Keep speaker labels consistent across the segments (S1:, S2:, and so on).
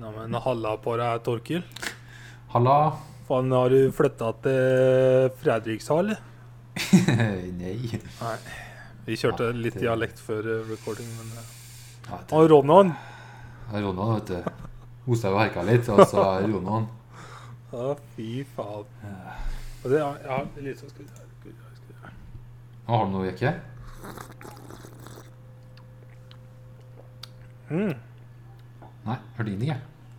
S1: Ja, men halla på deg, Torkil.
S2: Halla.
S1: Faen, har du flytta til Fredrikshall?
S2: Nei.
S1: Nei. Vi kjørte litt dialekt før eh, recording, men eh.
S2: Ja, det-
S1: Og Ronan.
S2: Ronan, vet du. Osa og herka litt, og så er Ronan.
S1: Ja, fy faen. Og det, ja, ja, det er litt sånn skal vi se her, skal vi se her, skal vi se her.
S2: Nå har du noe, ikke?
S1: Mm.
S2: Nei, hørte ingenting, jeg.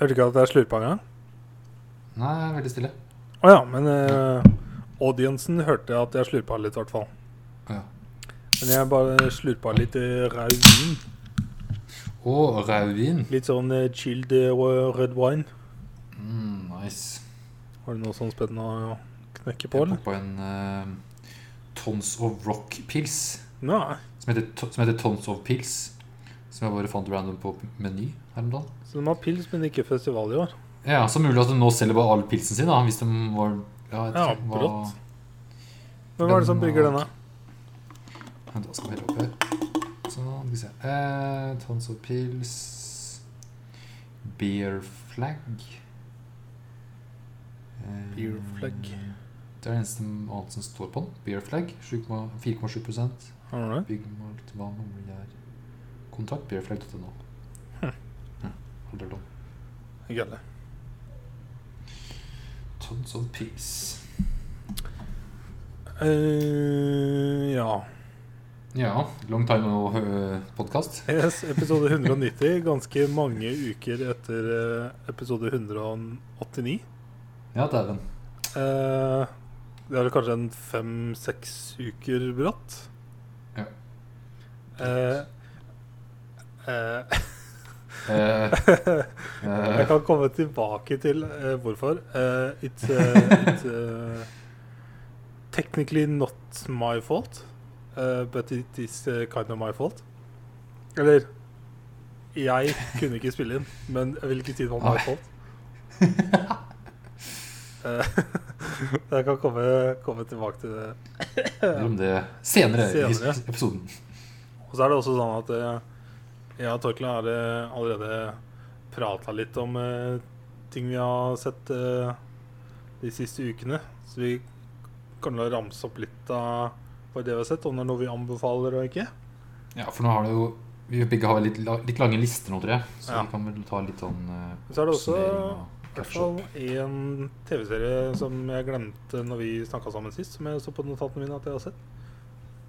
S1: Hørte ikke at jeg slurpa engang?
S2: Nei, veldig stille.
S1: Å ja, men eh, audiencen hørte at jeg slurpa litt, i hvert fall.
S2: Ja.
S1: Men jeg bare slurpa litt eh, rød vin.
S2: Å, rød vin.
S1: Litt sånn eh, chilled eh, red wine.
S2: Mm, nice.
S1: Har du noe sånn spennende å knekke på,
S2: Jeg
S1: eller?
S2: poppa en eh, Tons of Rock-pils,
S1: Nei.
S2: som, heter to- som heter Tons of Pils. Som jeg bare fant random på Meny her om dagen.
S1: Så de har pils, men ikke festival i år.
S2: Ja, så mulig at de nå selger bare all pilsen sin, da, hvis de var Ja, jeg
S1: Ja,
S2: tror det var-
S1: brått. Hvem er det som brygger denne?
S2: Men Da skal vi helle opp her. Sånn, skal vi se. Eh, tons of pills. Beer flag. Eh,
S1: Beer flag.
S2: Det er det eneste annet som står på den. Beer flag. 4,7
S1: All right.
S2: Byggmalt vann om det er Kontakt beerflag.no.
S1: Hm.
S2: Hm, aldri hørt om.
S1: Ikke heller.
S2: Tons of pills.
S1: Eh, ja.
S2: Ja. Long time no-podkast.
S1: Yes, episode 190, ganske mange uker etter eh, episode 189.
S2: Ja, dæven.
S1: Eh, det er vel kanskje en fem-seks uker bratt.
S2: Ja.
S1: Eh, eh,
S2: Eh, eh,
S1: Jeg kan komme tilbake til eh, hvorfor. Eh, it's eh, it's eh, technically not my fault, eh, but it is eh, kind of my fault. Eller Jeg kunne ikke spille inn, men jeg vil ikke si det var my
S2: Nei.
S1: fault. Eh, jeg kan komme, komme tilbake til det.
S2: Eller om det senere,
S1: Senere.
S2: i episoden.
S1: Og så er det også sånn at eh, jeg og Torkel har eh, allerede prata litt om eh, ting vi har sett eh, de siste ukene. Så vi kan da ramse opp litt av hva det vi har sett, om det er noe vi anbefaler og ikke.
S2: Ja, for nå har det jo Vi begge har litt, la- litt lange lister nå, tror jeg. Så
S1: Ja.
S2: vi kan vel ta litt sånn eh,
S1: Så er det også-
S2: oppsummering og
S1: I hvert
S2: catch
S1: fall
S2: up.
S1: en TV-serie som jeg glemte når vi snakka sammen sist, som jeg så på notatene mine at jeg har sett.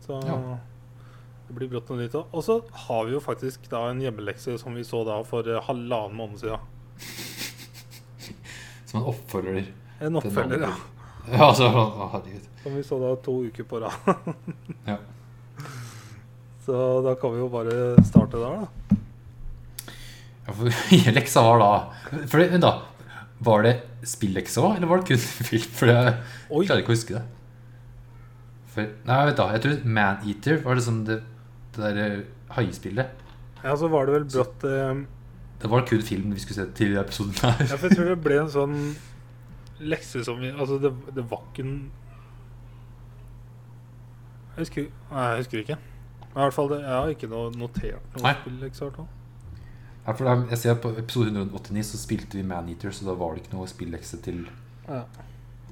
S1: Så
S2: Ja.
S1: det blir brått noe nytt òg. Og så har vi jo faktisk da en hjemmelekse som vi så da for eh, halvannen måned siden.
S2: Som en oppfølger.
S1: En
S2: til den
S1: oppfølger,
S2: andre.
S1: ja.
S2: Ja, altså, å, herregud.
S1: Som vi så da to uker på rad.
S2: Ja.
S1: Så da kan vi jo bare starte der, da.
S2: ja, for leksa var da For det- vent, da. Var det spilleksa òg, eller var det kun film? For jeg
S1: Oi.
S2: klarer ikke å huske det. For, nei, vent, da. Jeg tror Maneater var liksom det, det der eh, haispillet.
S1: Ja, så var det vel brått eh,
S2: Det var kun film vi skulle se til i episoden her.
S1: ja, for Jeg tror det ble en sånn lekse som vi Altså, det, det var ikke en Jeg husker Nei, jeg husker ikke. Men i hvert fall, det, jeg har ikke noe notert noe
S2: Nei.
S1: spill. Ikke sant, nå.
S2: Ja, for da- jeg ser På episode 189 så spilte vi Maneater, så da var det ikke noe spillekse til
S1: Ja.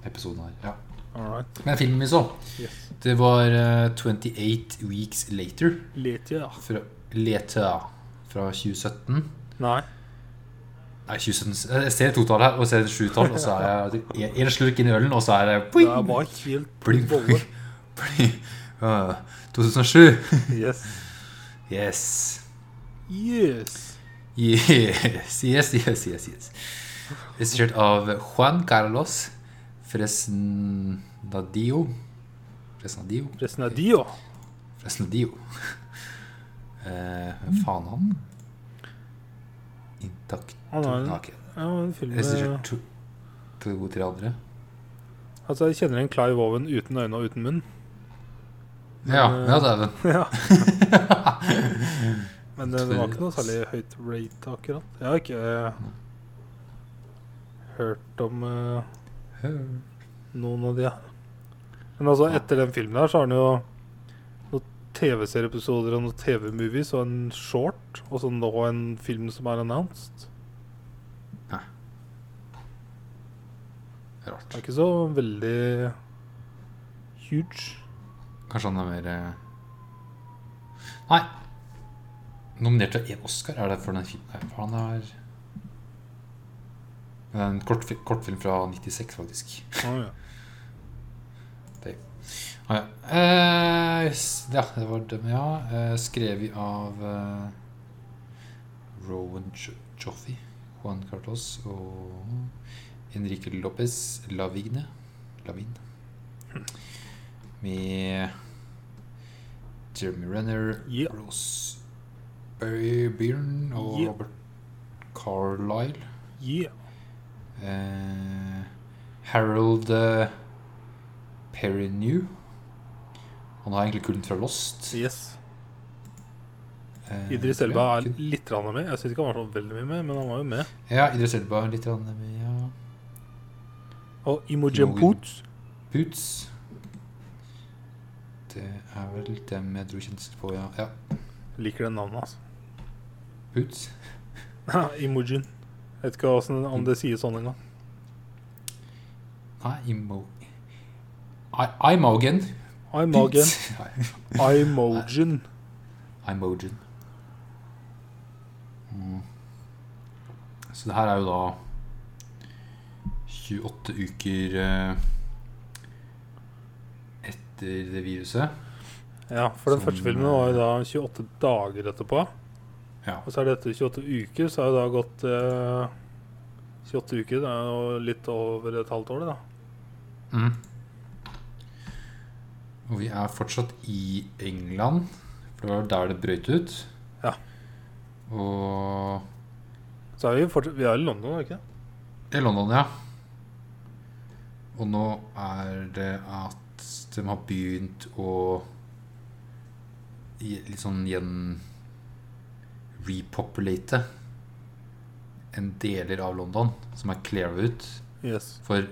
S2: episoden her. Ja.
S1: All right.
S2: Men filmen vi så,
S1: Yes.
S2: det var eh, 28 Weeks Later
S1: Lite, ja.
S2: fra Leta fra 2017.
S1: Nei.
S2: Nei, 2017 eh, Jeg ser totall her, og ser sjutall, og så er jeg en slurk inn i ølen, og så er det
S1: Det
S2: boing,
S1: var helt
S2: boing,
S1: bolle.
S2: boing, boing. Ja, 2007.
S1: Yes.
S2: Yes.
S1: Yes.
S2: Yes, yes, yes, yes, yes. Regissert av Juan Carlos Fresnadio Fresnadio?
S1: Resnadio.
S2: Fresnadio. Eh,
S1: Mm.
S2: Hvem faen han? Intakt
S1: Han har en,
S2: Nei, ok.
S1: ja, en film med
S2: Regissert to, to-tre andre.
S1: Altså, jeg kjenner en Clive Owen uten øyne og uten munn.
S2: Ja,
S1: eh,
S2: ja dæven.
S1: ja. Men det, det var ikke noe særlig høyt rate akkurat. Jeg har ikke eh, hørt om eh, noen av de her. Men altså, etter den filmen her så har han jo noen TV-serieepisoder og noen TV-movies og en short, og så nå en film som er announced.
S2: Rart.
S1: Det er ikke så veldig huge.
S2: Kanskje han er mer eh, Nei. Nominert til én Oscar, er det for den filmen? Nei, faen, det er Det er en kortfilm, kortfilm fra 96, faktisk.
S1: Å, ja.
S2: Ah, ja. Eh, s- ja, det var dem, ja. Eh, skrevet av eh, Rowan Jo- Joffey, Juan Carlos og Enrique Lopez Lavigne. Lavin. Med Jeremy Renner,
S1: Ja.
S2: Rose Byrne og
S1: Ja.
S2: Robert Carlyle.
S1: Yeah.
S2: Eh, Harold eh, Perrineau. Han har egentlig kun fra Lost.
S1: Yes.
S2: Eh,
S1: Idris
S2: ja,
S1: Elba er
S2: kun-
S1: litt grann med. Jeg syns ikke han var så veldig mye med, men han var jo med.
S2: Ja, Idris Elba er litt grann med ja.
S1: Og Imogen
S2: Imogen.
S1: Poots.
S2: Boots. Det er vel dem jeg dro kjensel på, ja. ja.
S1: Liker det navnet, altså.
S2: Boots.
S1: Ja, Imogen. Jeg vet ikke hvordan- om
S2: Mm.
S1: det sies sånn engang.
S2: Nei, Imo... I- Imogen.
S1: Imogen.
S2: Boots. Nei,
S1: Imogen.
S2: Imogen. Mm. Så det her er jo da 28 uker eh, etter det viruset.
S1: Ja, for den
S2: Som,
S1: første filmen var jo da 28 dager etterpå.
S2: Ja.
S1: Og så er det etter 28 uker, så har jo da gått eh, 28 uker. Det er jo litt over et halvt år, det, da.
S2: Mm. Og vi er fortsatt i England, for det var der det brøt ut.
S1: Ja.
S2: Og
S1: Så er vi fortsatt Vi er i London, er vi ikke? det?
S2: I London, ja. Og nå er det at de har begynt å i- litt sånn igjen repopulate en deler av London som er clear ut.
S1: Yes.
S2: For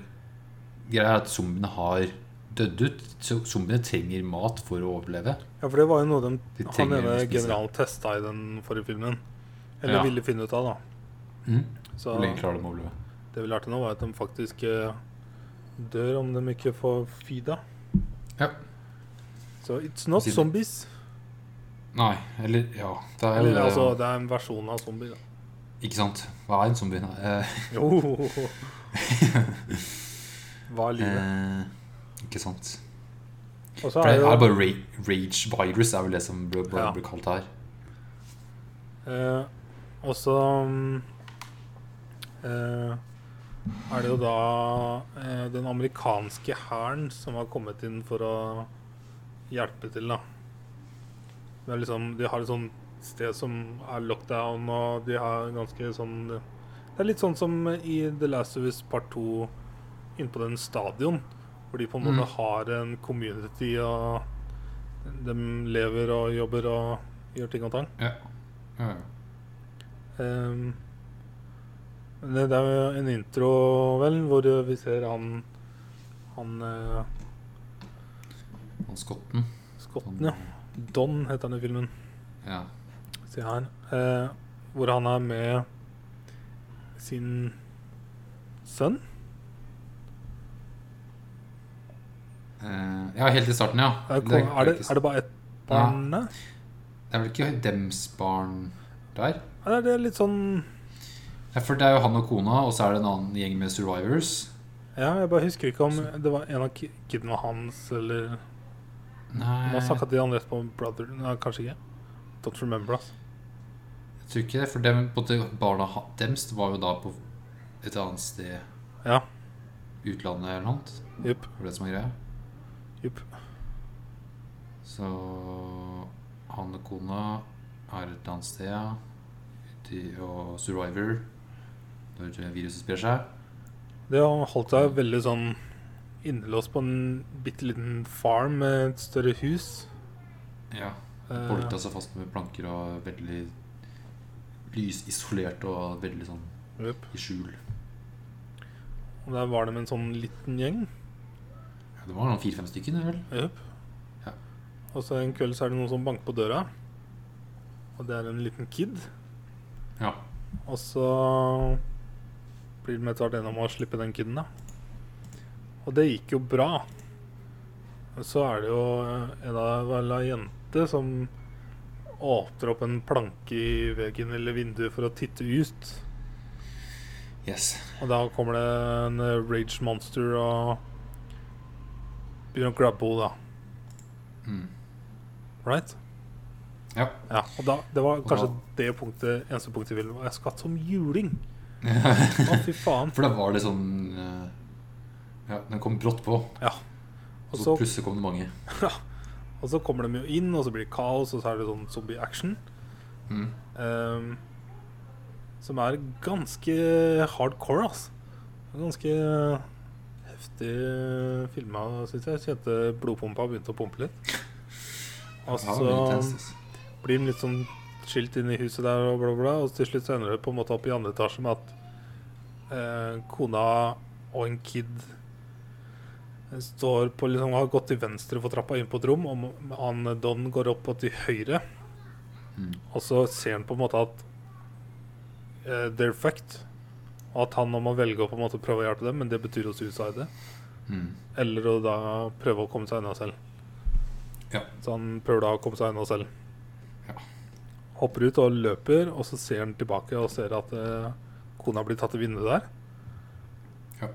S2: greia er at zombiene har dødd ut. Så zombiene trenger mat for å overleve.
S1: Ja, for det var jo noe de,
S2: De
S1: han
S2: trenger
S1: ene
S2: å spise.
S1: generalen testa i den forrige filmen. Eller
S2: Ja.
S1: ville finne ut av, da. Så
S2: Mm? Hvor lenge
S1: det
S2: klarer de å overleve?
S1: vi lærte nå, var at de faktisk eh, dør om de ikke får feeda.
S2: Ja.
S1: Så it's not
S2: Siden-
S1: zombies.
S2: Nei, eller ja Det er jo
S1: Eller,
S2: det.
S1: altså, det er en versjon av zombie, da.
S2: Ikke sant? Hva er en zombie? Nei, eh,
S1: Jo. Hva er livet?
S2: eh, ikke sant.
S1: Og så
S2: For
S1: er
S2: det
S1: det
S2: er
S1: jo
S2: bare ra rage virus, er vel det som blir, blir,
S1: Ja.
S2: blir kalt her.
S1: eh, Også mm, eh, er det jo da eh, den amerikanske hæren som har kommet inn for å hjelpe til, da. Det er liksom, de har et sånn sted som er lockdown, og de har ganske sånn Det er litt sånn som i The Last of Us Part 2 inne på den stadion, hvor de på en måte
S2: Mm.
S1: har en community, og de lever og jobber og gjør ting og tang.
S2: Ja. Ja, ja.
S1: Ehm, men det, det er jo en intro, vel, hvor vi ser han Han eh,
S2: Og skotten.
S1: skotten, ja. Don heter han i filmen.
S2: Ja.
S1: Se her. Eh, hvor han er med sin sønn.
S2: Eh, ja, helt i starten, ja.
S1: Er, det- er, det, er det bare ett barn der?
S2: det er vel ikke dems barn der?
S1: Eller er det litt sånn
S2: Ja, for det er jo han og kona, og så er det en annen gjeng med survivors.
S1: Ja, jeg bare husker ikke om det var en av ki- kidene hans, eller
S2: Nei,
S1: Man har sagt at de andre etterpå brother Nei, kanskje ikke. Don't remember, ass.
S2: jeg tror ikke det. For dem, både barna ha- dems var jo da på et annet sted,
S1: Ja.
S2: utlandet eller noe annet.
S1: Jupp.
S2: Det var det som var greia.
S1: Jupp.
S2: Så han og kona er et annet sted, ja. Ute i- Og survivor når viruset sprer seg.
S1: Det har holdt seg veldig sånn innelåst på en bitte liten farm med et større hus.
S2: Ja.
S1: Eh,
S2: Bolta seg fast med planker og veldig lysisolert og veldig sånn
S1: jupp.
S2: i skjul.
S1: Eh, Og der var det med en sånn liten gjeng.
S2: Ja, det var noen fire-fem stykker, det vel?
S1: Jupp.
S2: Ja.
S1: Og så en kveld så er det noen som banker på døra. Og det er en liten kid.
S2: Ja.
S1: Og så blir de etter hvert enige om å slippe den kiden, da. Og det gikk jo bra. Så er det jo en av vel ei jente som åpner opp en planke i veggen eller vinduet for å titte ut.
S2: Yes.
S1: Og da kommer det en eh, rage monster og begynner å grabbe henne, da.
S2: Mm.
S1: Right?
S2: Ja.
S1: Ja, og da, Det var kanskje
S2: da-
S1: det punktet, eneste punktet jeg ville Jeg skvatt som juling! Å, fy faen.
S2: For da var det sånn eh, Ja, den kom brått på,
S1: Ja. Og
S2: og så
S1: så,
S2: plutselig kom det mange.
S1: og så kommer de jo inn, og så blir det kaos, og så er det sånn zombie action.
S2: Mm.
S1: ehm, som er ganske hardcore, altså. Ganske heftig filma, syns jeg. Kjente blodpumpa begynte å pumpe litt. Og
S2: Ja, det var veldig intenst,
S1: så
S2: ass.
S1: blir de litt sånn skilt inn i huset der, og bla, bla. Og til slutt så ender det på en måte opp i andre etasje med at eh, kona og en kid står på liksom har gått til venstre for trappa inn på et rom, og han eh, Don går opp og til høyre.
S2: Mm.
S1: Og så ser han på en måte at eh, they're fucked. Og at han nå må velge å på en måte prøve å hjelpe dem, men det betyr å suicide.
S2: Mm.
S1: Eller å da prøve å komme seg unna selv.
S2: Ja.
S1: Så han prøver da å komme Sånn seg unna selv.
S2: Ja.
S1: Hopper ut og løper, og så ser han tilbake og ser at eh, kona blir tatt i vinduet der.
S2: Ja.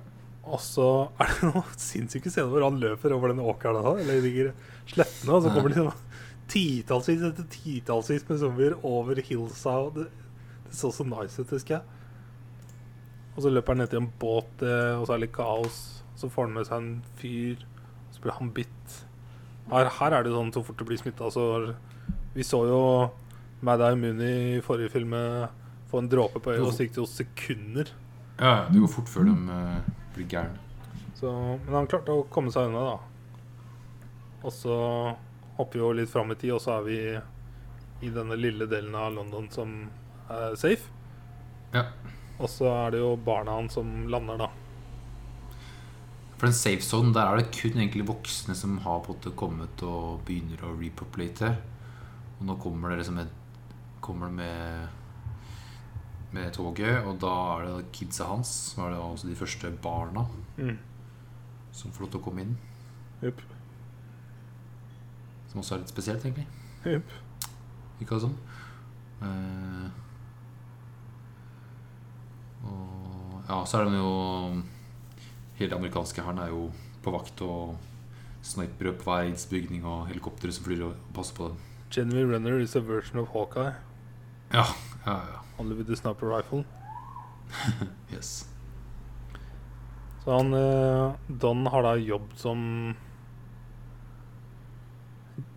S1: Og så er det noen sinnssyke scener hvor han løper over den åkeren da, eller ligger slettene, og så kommer det liksom titallsvis etter titallsvis med zombier over hillsa. Og det, det så så nice ut, husker jeg. Og så løper han ned til en båt, eh, og så er det litt kaos. Så får han med seg en fyr, og så blir han bitt. Her, her er det sånn så fort du blir smitta, så Vi så jo Madai Muni i forrige film eh, få en dråpe på øyet, og så gikk det jo sekunder.
S2: ja, ja, det går fort før de eh, blir gærne.
S1: Så, men han klarte å komme seg unna, da. Og så hopper vi jo litt fram i tid, og så er vi i denne lille delen av London som er safe.
S2: Ja.
S1: Og så er det jo barna hans som lander, da.
S2: For den safe zone, der er det kun egentlig voksne som har på en måte kommet og begynner å repopulate. Og nå kommer det liksom et Kommer det med Med toget, og da er det kidsa hans, som er det altså de første barna, som får lov til å komme inn.
S1: Jupp.
S2: Som også er litt spesielt, egentlig.
S1: Jupp.
S2: Ikke det sånn? Eh, og ja, så er det jo Hele den amerikanske hæren er jo på vakt og snipere på hver eneste bygning og helikoptre som flyr og passer på dem.
S1: Genuine Runner is a version of Hawkeye.
S2: Ja, ja, ja.
S1: Only with the sniper rifle.
S2: Yes.
S1: Så han eh, Don har da jobb som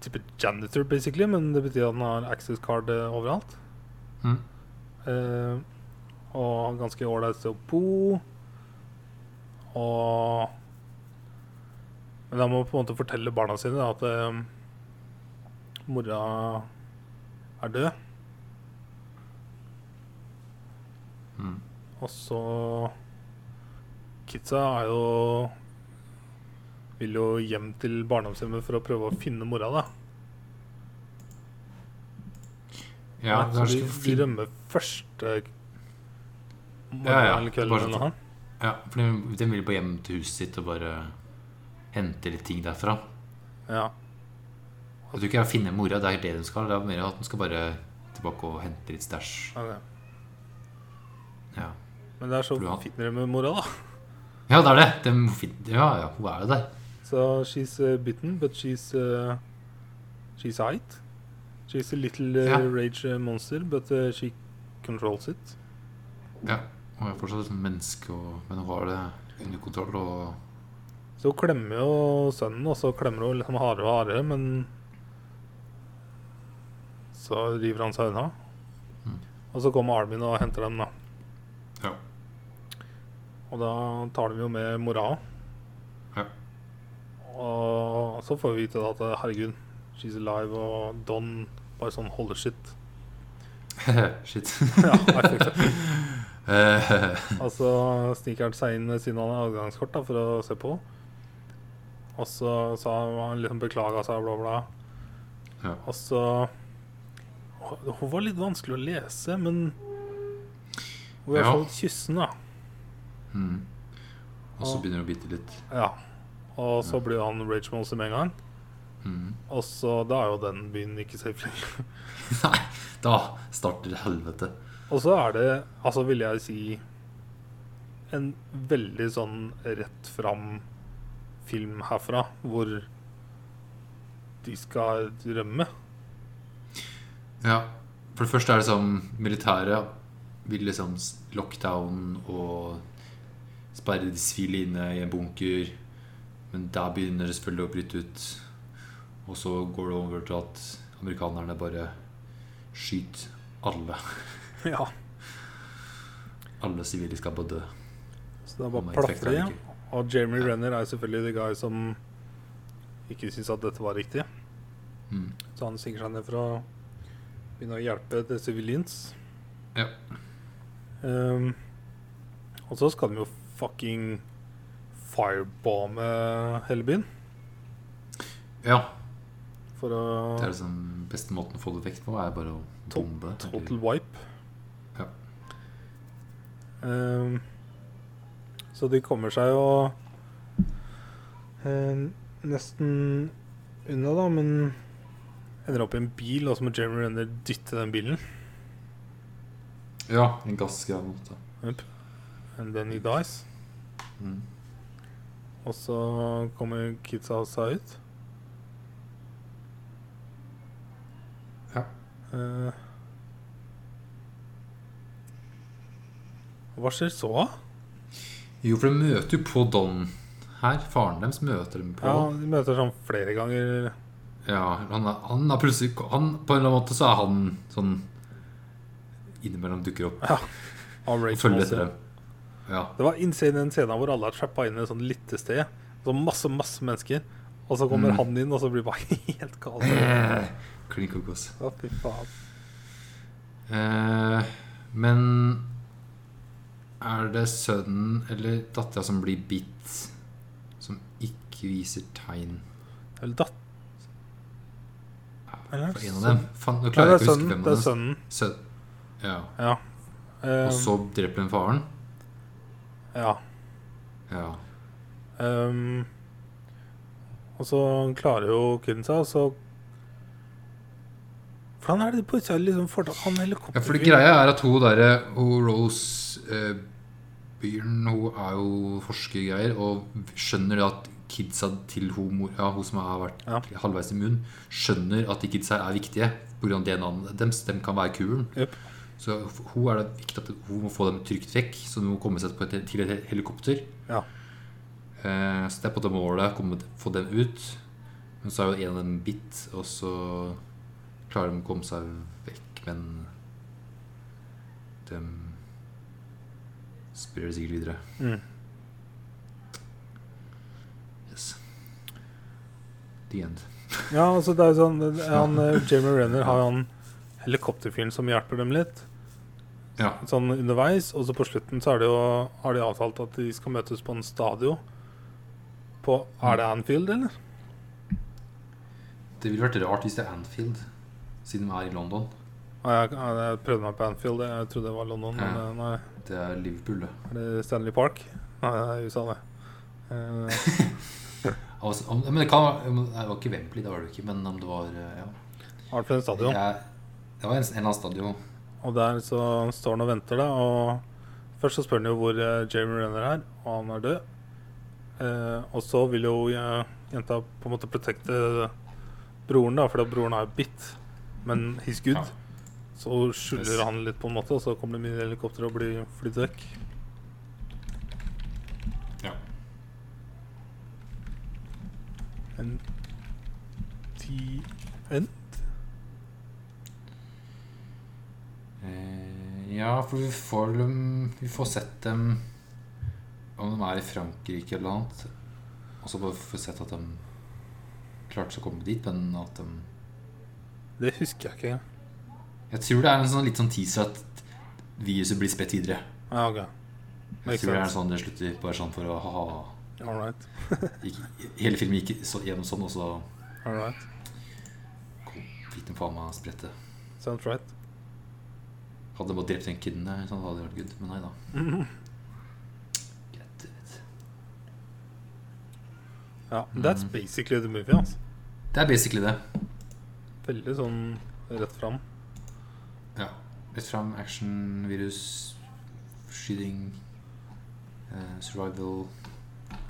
S1: type janitor, basically, men det betyr at han har access card eh, overalt.
S2: Mm.
S1: Eh, og ganske ålreit sted å bo. Og Men han må på en måte fortelle barna sine da, at eh, mora er død.
S2: Mm.
S1: Og så Kidsa er jo Vil jo hjem til barndomshjemmet for å prøve å finne mora, da.
S2: Ja,
S1: Nei,
S2: det er
S1: så
S2: ikke
S1: de,
S2: for
S1: de
S2: fint.
S1: rømmer første morgenen
S2: Ja, ja,
S1: eller kvelden
S2: bare- sånn.
S1: eller noe sånt.
S2: Ja, for de, de vil bare hjem til huset sitt og bare hente litt ting derfra.
S1: Ja.
S2: Jeg tror ikke det er å finne mora, det er det de skal. Det er mer at de skal bare tilbake og hente litt stæsj.
S1: ok.
S2: Ja.
S1: Men det er så
S2: For du har-
S1: finner de med mora, da.
S2: ja, det er det. De, må fin- ja, ja, hun er jo der.
S1: Så she's uh, bitten, but she's uh, she's height. She's a little uh,
S2: Ja.
S1: rage uh, monster, but uh, she controls it.
S2: Ja, hun er fortsatt et sånt menneske, og, men hun har det under kontroll. Og
S1: Så hun klemmer jo sønnen, og så klemmer hun liksom hardere og hardere, men så river han seg unna.
S2: Mm.
S1: Og så kommer Armin og henter dem, da.
S2: Ja.
S1: Og da tar de jo med mora òg.
S2: Ja.
S1: Og så får vi vite da at herregud, she's alive, og Don bare sånn holder shit.
S2: shit.
S1: ja, I think so.
S2: Eh,
S1: Og så sniker han Altså, seg inn ved siden av adgangskort da, for å se på. Og så sa han han liksom beklaga seg, bla, bla.
S2: Ja.
S1: Og så Hun var litt vanskelig å lese, men Hun er i hvert
S2: Ja.
S1: fall kyssen, da.
S2: mm. Og Og så
S1: Og-
S2: begynner det å bite litt.
S1: Ja. Og så
S2: Ja.
S1: blir han rage monster med en gang.
S2: Mm.
S1: Og så Da er jo den byen ikke safe lenger.
S2: Nei, da starter helvete.
S1: Og så er det, altså vil jeg si, en veldig sånn rett fram film herfra, hvor de skal rømme.
S2: Ja. For det første er det sånn Militæret vil liksom s- lockdown og sperre de sivile inne i en bunker. Men der begynner det selvfølgelig å bryte ut. Og så går det over til at amerikanerne bare skyter alle.
S1: Ja.
S2: Alle sivile skal bare dø.
S1: Så det er
S2: Og
S1: bare
S2: Mike Factor
S1: plaffer
S2: er
S1: de.
S2: ikke-
S1: Og Jeremy Renner er selvfølgelig the guy som ikke syns at dette var riktig.
S2: Mm.
S1: Så han stikker seg ned for å begynne å hjelpe The Civilians.
S2: Ja.
S1: Ehm, og så skal de jo fucking firebombe hele byen
S2: ja.
S1: for å
S2: Det er liksom beste måten å få det vekk på, er bare å
S1: To-
S2: bombe.
S1: total wipe.
S2: Ja.
S1: Ehm, så de kommer seg jo eh, nesten unna, da, men ender opp i en bil, og så må Jeremy Renner dytte den bilen.
S2: Ja, en gassgreie. på en måte.
S1: And then he dies.
S2: Mm.
S1: Og så kommer kidsa seg ut.
S2: Ja.
S1: Eh, hva skjer så?
S2: Jo, for de møter jo på Don her. Faren deres møter dem på.
S1: Ja, De møter sånn flere ganger.
S2: Ja, han er, han er plutselig han, På en eller annen måte så er han sånn Innimellom dukker opp
S1: av
S2: og
S1: Rage
S2: følger
S1: Monster.
S2: etter dem. Ja.
S1: Det var insane den scenen hvor alle er trappa inn i et sånt lyttested. Så masse, masse mennesker. Og så kommer
S2: Mm.
S1: han inn, og så blir det bare helt kaos.
S2: Eh, Klin kokos.
S1: Å, fy faen.
S2: Eh, men er det sønnen eller dattera som blir bitt, som ikke viser tegn?
S1: Eller datt... Eller?
S2: For en av dem Fan, Nå
S1: Nei,
S2: klarer
S1: det er
S2: jeg ikke å huske
S1: sønnen.
S2: hvem
S1: Det er
S2: av dem.
S1: sønnen.
S2: Sø ja.
S1: Ja.
S2: Og
S1: Um,
S2: så dreper den faren?
S1: ja.
S2: Ja.
S1: Ehm, og så klarer jo Kiden seg, og så Hvordan er det de plutselig liksom får tak han
S2: Ja, for det
S1: helikopteren?
S2: greia er at hun derre Hun Rose eh, Byrne, hun er jo forskergreier og skjønner at kidsa til hun mor Ja, hun som har vært
S1: Ja.
S2: halvveis immun, skjønner at de kidsa er viktige pga. DNA-en deres. De kan være kuren.
S1: Jep.
S2: Så hun er det viktig at hun må få dem trygt vekk, så hun må komme seg på et, til et helikopter.
S1: Ja.
S2: Eh, så det er på det målet komme, få dem ut. Men så er jo en av dem bitt, og så klarer de å komme seg vekk, men de sprer det um, sikkert videre.
S1: Mm.
S2: Yes. The end.
S1: Ja, altså det er jo sånn det- han, eh, Jeremy Renner har jo han helikopterfyren som hjelper dem litt
S2: Ja.
S1: sånn underveis. Og så på slutten så er det jo, har de avtalt at de skal møtes på en stadion. På Er det Anfield, eller?
S2: Det ville vært rart hvis det er Anfield, siden de er i London.
S1: Ah, Jeg, jeg prøvde meg på Anfield, jeg trodde det var London, men
S2: Ja.
S1: eh, nei.
S2: Det er Liverpool, det.
S1: Er det Stanley Park? Nei, det er USA, det. Eh,
S2: Altså, om, men det kan være men Det var ikke Wembley, det var det jo ikke, men om det var eh, Ja.
S1: i hvert fall en stadion.
S2: Jeg, det var en, en eller annen stadion.
S1: Og der så står han og venter, da. Og først så spør han jo hvor eh, Jeremy Renner er, og han er død. Eh, og så vil jo eh, jenta på en måte protekte broren, da, fordi at broren er jo bitt. Men he's good.
S2: Ja.
S1: Så skjuler
S2: Yes.
S1: han litt, på en måte, og så kommer det mye helikopter og blir flyttet vekk.
S2: Ja.
S1: En ti... En?
S2: Eh, ja, for vi får, dem, vi får sett dem Om de er i Frankrike eller noe annet. Og så bare får vi sett at de klarte seg å komme dit, men at de
S1: Det husker jeg ikke.
S2: Jeg tror det er en sånn, litt sånn teaser at viruset blir spredt videre.
S1: Ja, ok.
S2: Jeg
S1: Makes
S2: tror det er
S1: sense.
S2: sånn det slutter, bare sånn for å ha
S1: All right.
S2: Hele filmen gikk så, gjennom sånn, og så
S1: All right.
S2: fikk de faen meg spredt det.
S1: Sounds right.
S2: Hadde de bare drept den kiden der, sånn hadde det vært good. Men nei da.
S1: Mhm.
S2: Greit, det vet.
S1: Ja, That's basically the movie. Altså.
S2: Det er basically det.
S1: Veldig sånn rett fram.
S2: Ja. Rett fram, action, virus, skyting, eh, survival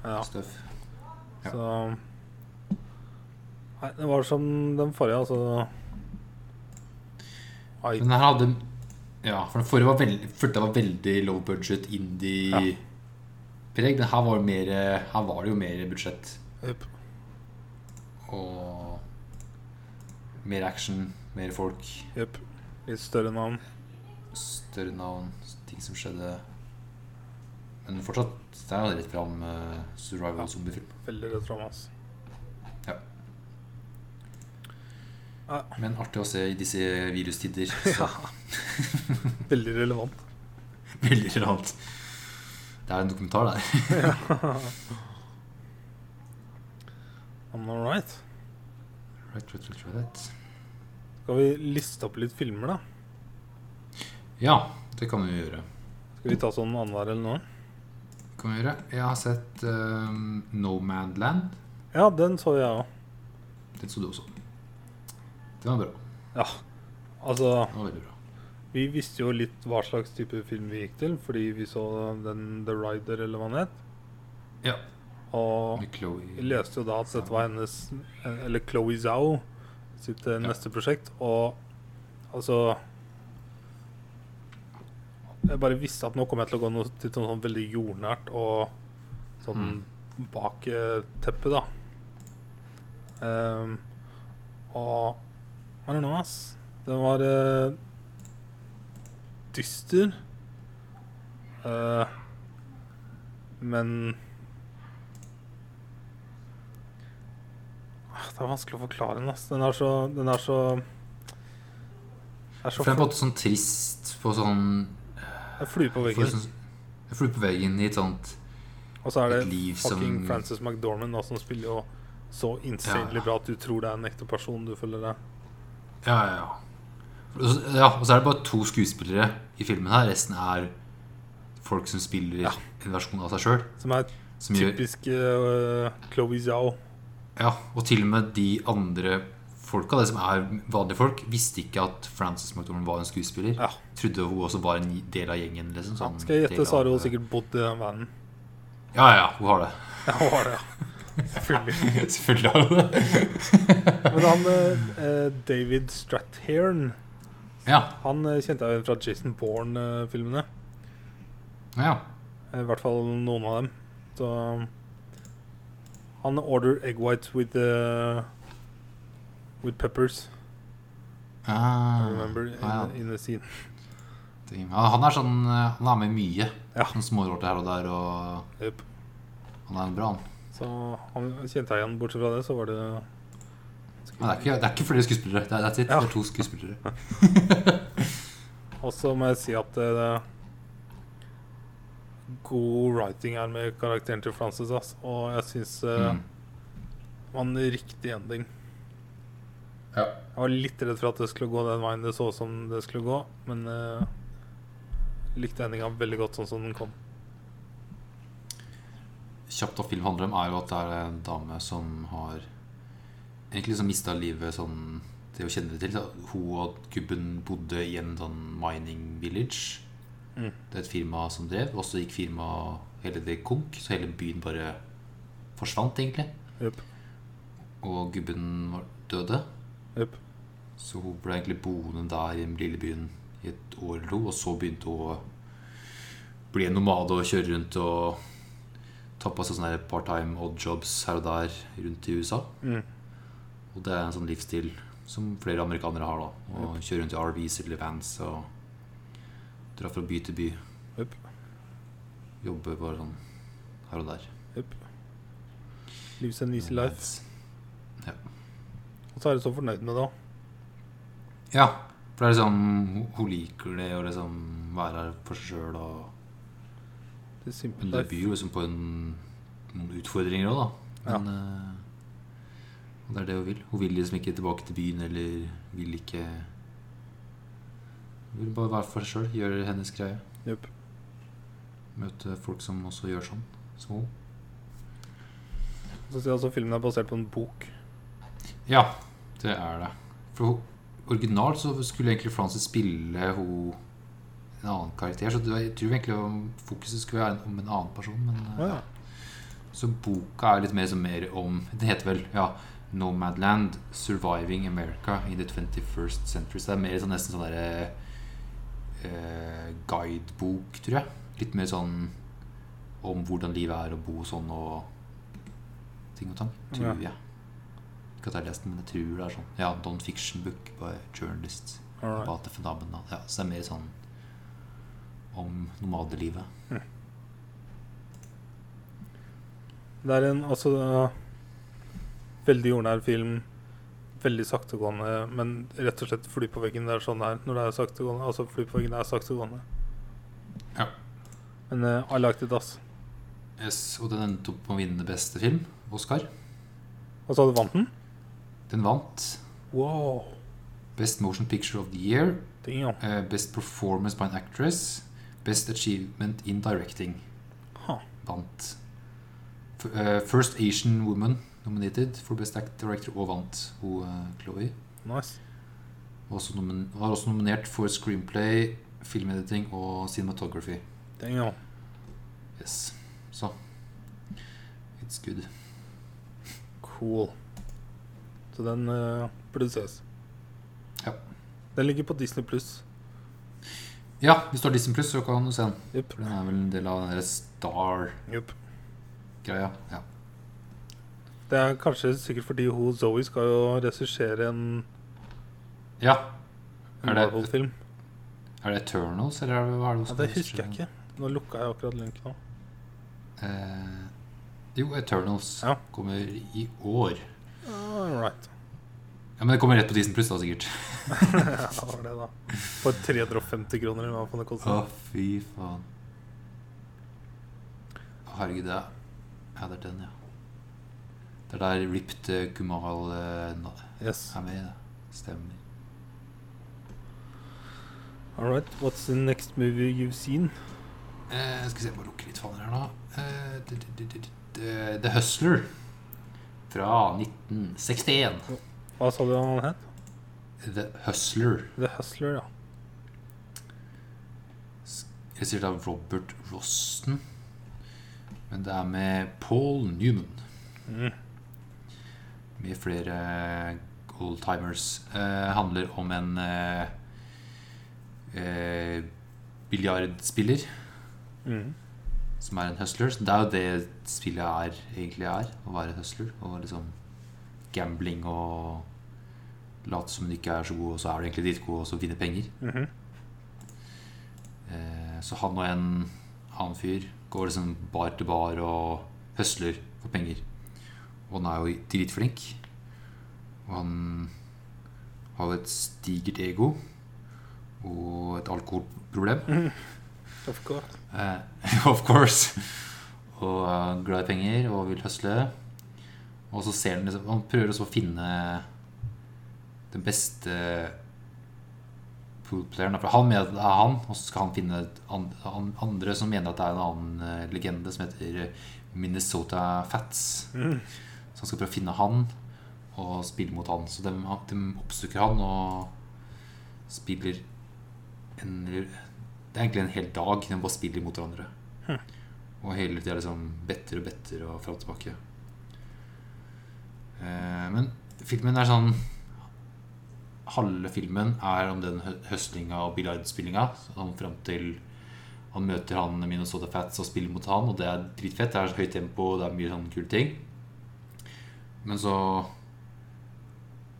S1: Ja,
S2: stuff. Ja.
S1: så Nei, det var som den forrige, altså. Ai,
S2: Men den her hadde Ja, for den forrige var veldig, følte jeg var veldig low budget
S1: Ja.
S2: indie-preg. Den her var, jo mer, her var det jo mer budsjett
S1: Jupp.
S2: og mer action, mer folk,
S1: Jupp. Litt større navn.
S2: større navn, ting som skjedde. Men fortsatt det er jo rett fram eh, survival zombiefilm.
S1: Veldig rett fram, altså.
S2: Men artig å se i disse virustider. Så
S1: Veldig relevant.
S2: veldig relevant. Det er en dokumentar der.
S1: I'm all right.
S2: Right, right, right, right, right.
S1: Skal vi liste opp litt filmer, da?
S2: Ja, det kan vi jo gjøre.
S1: Skal vi ta sånn annenhver eller noe?
S2: Kan vi gjøre. Jeg har sett um, Nomadland.
S1: Ja, den så jeg òg.
S2: Den så du også. Det var bra.
S1: Ja. Altså,
S2: Det var veldig bra.
S1: vi visste jo litt hva slags type film vi gikk til, fordi vi så den The Rider, eller hva den het.
S2: Ja.
S1: Og
S2: Med Chloe.
S1: vi leste jo da at dette var hennes Eller Chloé Zhao sitt eh,
S2: Ja.
S1: neste prosjekt. Og altså Jeg bare visste at nå kommer jeg til å gå noe, til noe sånn veldig jordnært og sånn bak eh, teppet, da. Ehm, og I don't know, ass. Den var eh, dyster. Eh, men Ah, Det er vanskelig å forklare den, ass. Den er så Den er så, er så
S2: For det er på en måte sånn trist på sånn
S1: Det er flue på
S2: for
S1: veggen.
S2: sånn Jeg flyr på veggen i et sånt
S1: Og så er
S2: et
S1: det
S2: liv
S1: fucking
S2: som-
S1: Frances McDormand da, som spiller jo så
S2: Ja,
S1: insanely
S2: ja.
S1: bra at du tror det er en ekte person du følger deg.
S2: Ja, ja, ja. Og så, ja. Og så er det bare to skuespillere i filmen her. Resten er folk som spiller en versjon av seg sjøl.
S1: Som er
S2: Som gjør
S1: typisk uh, Chloé Zhao.
S2: Ja, og til og med de andre folka, det som er vanlige folk, visste ikke at Frances McDormand var en skuespiller.
S1: Ja.
S2: Trodde hun også var en del av gjengen. liksom sånn
S1: Skal jeg
S2: del
S1: gjette,
S2: av-
S1: så har hun sikkert bodd i den vanen.
S2: Ja, ja, hun har det.
S1: Ja, hun har det, ja. Selvfølgelig.
S2: Selvfølgelig har hun det.
S1: Men han eh, eh, David Strathairn,
S2: Ja,
S1: han eh, kjente jeg jo fra Jason Bourne-filmene.
S2: ja, ja.
S1: I hvert fall noen av dem. Så Han order egg whites with eh, With peppers, I
S2: Ah,
S1: remember, in,
S2: ja, ja.
S1: in the scene.
S2: Ting. Ja, Han er sånn eh, Han er med mye.
S1: Ja.
S2: Sånn smårotter her og der, og
S1: Yep.
S2: han er en bra han.
S1: Så han kjente jeg igjen, bortsett fra det, så var det
S2: Men det er ikke, det er ikke flere skuespillere. Det er, that's it.
S1: Ja.
S2: det er to skuespillere.
S1: Og så må jeg si at det, det God writing her med karakteren til Frances, ass. Og jeg syns eh,
S2: Mm.
S1: det var en riktig ending.
S2: Ja.
S1: Jeg var litt redd for at det skulle gå den veien det så ut som det skulle gå, men eh, likte endinga veldig godt sånn som den kom.
S2: kjapt hva film handler om, er jo at det er en dame som har egentlig liksom mista livet sånn Det å kjenne det til. Da. Hun og gubben bodde i en sånn mining village.
S1: Mm.
S2: Det er et firma som drev, og så gikk firmaet hele det konk, så hele byen bare forsvant, egentlig.
S1: Jupp.
S2: Og gubben var døde.
S1: Jupp.
S2: Så hun ble egentlig boende der i den lille byen i et år eller to, og så begynte hun å bli en nomade og kjøre rundt og ta på seg sånne her part-time odd jobs her og der rundt i USA.
S1: Mm.
S2: Og det er en sånn livsstil som flere amerikanere har, da. Å kjøre rundt i RVs eller vans og dra fra by til by.
S1: Jupp.
S2: Jobbe bare sånn her og der.
S1: Jupp. Lives an
S2: Mm.
S1: easy life. Og så er du så fornøyd med det òg.
S2: Ja, for det er liksom hun- Hun liker det å liksom være her for seg sjøl og
S1: Det er simple
S2: Men det
S1: life.
S2: byr jo liksom på en, noen utfordringer òg, da. Men eh, og det er det hun vil. Hun vil liksom ikke tilbake til byen, eller vil ikke Hun vil bare være for seg sjøl, gjøre hennes greie.
S1: Jupp.
S2: Møte folk som også gjør sånn, som hun.
S1: Så sier jeg også filmen er basert på en bok.
S2: Ja, det er det. For ho- originalt så skulle egentlig Frances spille ho en annen karakter, så det var- jeg tror egentlig om fokuset skulle være om en annen person. Men, eh,
S1: Å ja.
S2: Så boka er litt mer, som mer om Den heter vel ja, 'Nomadland Surviving America in the 21st Century'. Så det er mer sånn, nesten sånn derre eh, guidebok, tror jeg. Litt mer sånn om hvordan livet er å bo sånn og ting og tang. Tror
S1: Ja.
S2: jeg. Ikke at jeg har lest den, men jeg tror det er sånn. Ja, non fiction book by journalists.
S1: Alright.
S2: About the phenomena. Ja, så det er mer sånn om nomadelivet.
S1: Det er en altså eh, veldig jordnær film. Veldig saktegående, men rett og slett fly på veggen. Det er sånn det er når det er saktegående. Altså, fly på veggen er saktegående.
S2: Ja.
S1: Men eh, I liked it, ass.
S2: Yes, og den endte opp med å vinne beste film, Oscar.
S1: Og så hadde du vant den?
S2: Den vant
S1: Wow.
S2: Best Motion Picture of the Year,
S1: Ting, ja.
S2: eh, Best Performance by an Actress, Best Achievement in Directing.
S1: Ha.
S2: Vant. F eh, First Asian Woman nominated for Best Act Director og vant hun eh, Chloé.
S1: Nice.
S2: Var også nomin- Var også nominert for Screenplay, Filmediting og Cinematography.
S1: Ting, ja.
S2: Yes. Så It's good.
S1: Cool. Så den eh, burde ses.
S2: Ja.
S1: Den ligger på Disney pluss.
S2: Ja, hvis du har Disney Plus, så kan du se den.
S1: Jupp.
S2: Den er vel en del av den der Star-greia.
S1: Jupp.
S2: Ja.
S1: Det er kanskje sikkert fordi hun Zoe skal jo regissere en,
S2: ja.
S1: en
S2: Er det-
S1: Marvel-film.
S2: Er det Eternals, eller er det, hva er det
S1: Ja, det husker jeg ikke. Nå lukka jeg akkurat link nå.
S2: Eh, jo, Eternals
S1: Ja.
S2: kommer i år.
S1: All right.
S2: Ja, Men det kommer rett på Disney Pluss, da, sikkert.
S1: Ja, det var det, da. For 350 kroner, eller hva faen det
S2: Å,
S1: koster.
S2: fy faen. Å, Herregud, det er Ja, det er den, ja. Det er der Ripped eh, Kumal eh, na-
S1: Yes.
S2: er med, det. Stemmer.
S1: All right. What's the next movie you've seen?
S2: Eh, skal vi se, jeg må lukke litt faner her nå. Eh, d- d- d- d- d- Eh, The Hustler fra 1961.
S1: Hva sa du han het?
S2: The Hustler.
S1: The Hustler, ja.
S2: Jeg sier da Robert Rosten. Men det er med Paul Newman.
S1: Mm.
S2: Med flere oldtimers. Eh, handler om en eh, eh, biljardspiller
S1: Mm.
S2: som er en hustler. Så det er jo det spillet er, egentlig er. Å være hustler. Og liksom gambling og late som du ikke er så god, og så er du egentlig dritgod, og så vinne penger.
S1: Mhm.
S2: Eh, Så han og en annen fyr går liksom bar til bar og høsler for penger. Og han er jo dritflink. Og han har jo et stigert ego og et alkoholproblem.
S1: Of course.
S2: Eh, of course. Og er glad i penger og vil høsle. Og så ser han liksom Han prøver også å finne den beste poolplayeren. For han mener at det er han, og så skal han finne et an- an- andre som mener at det er en annen eh, legende som heter eh, Minnesota Fats.
S1: Mm.
S2: Så han skal prøve å finne han og spille mot han. Så de, de oppsøker han og spiller en Det er egentlig en hel dag de bare spiller mot hverandre.
S1: Hm.
S2: Og hele tida liksom better og better og fra og tilbake. Eh, men filmen er sånn Halve filmen er om den hø- høslinga og biljardspillinga. Sånn fram til han møter han Minnesota Fats og spiller mot han, og det er dritfett. Det er høyt tempo, det er mye sånne kule ting. Men så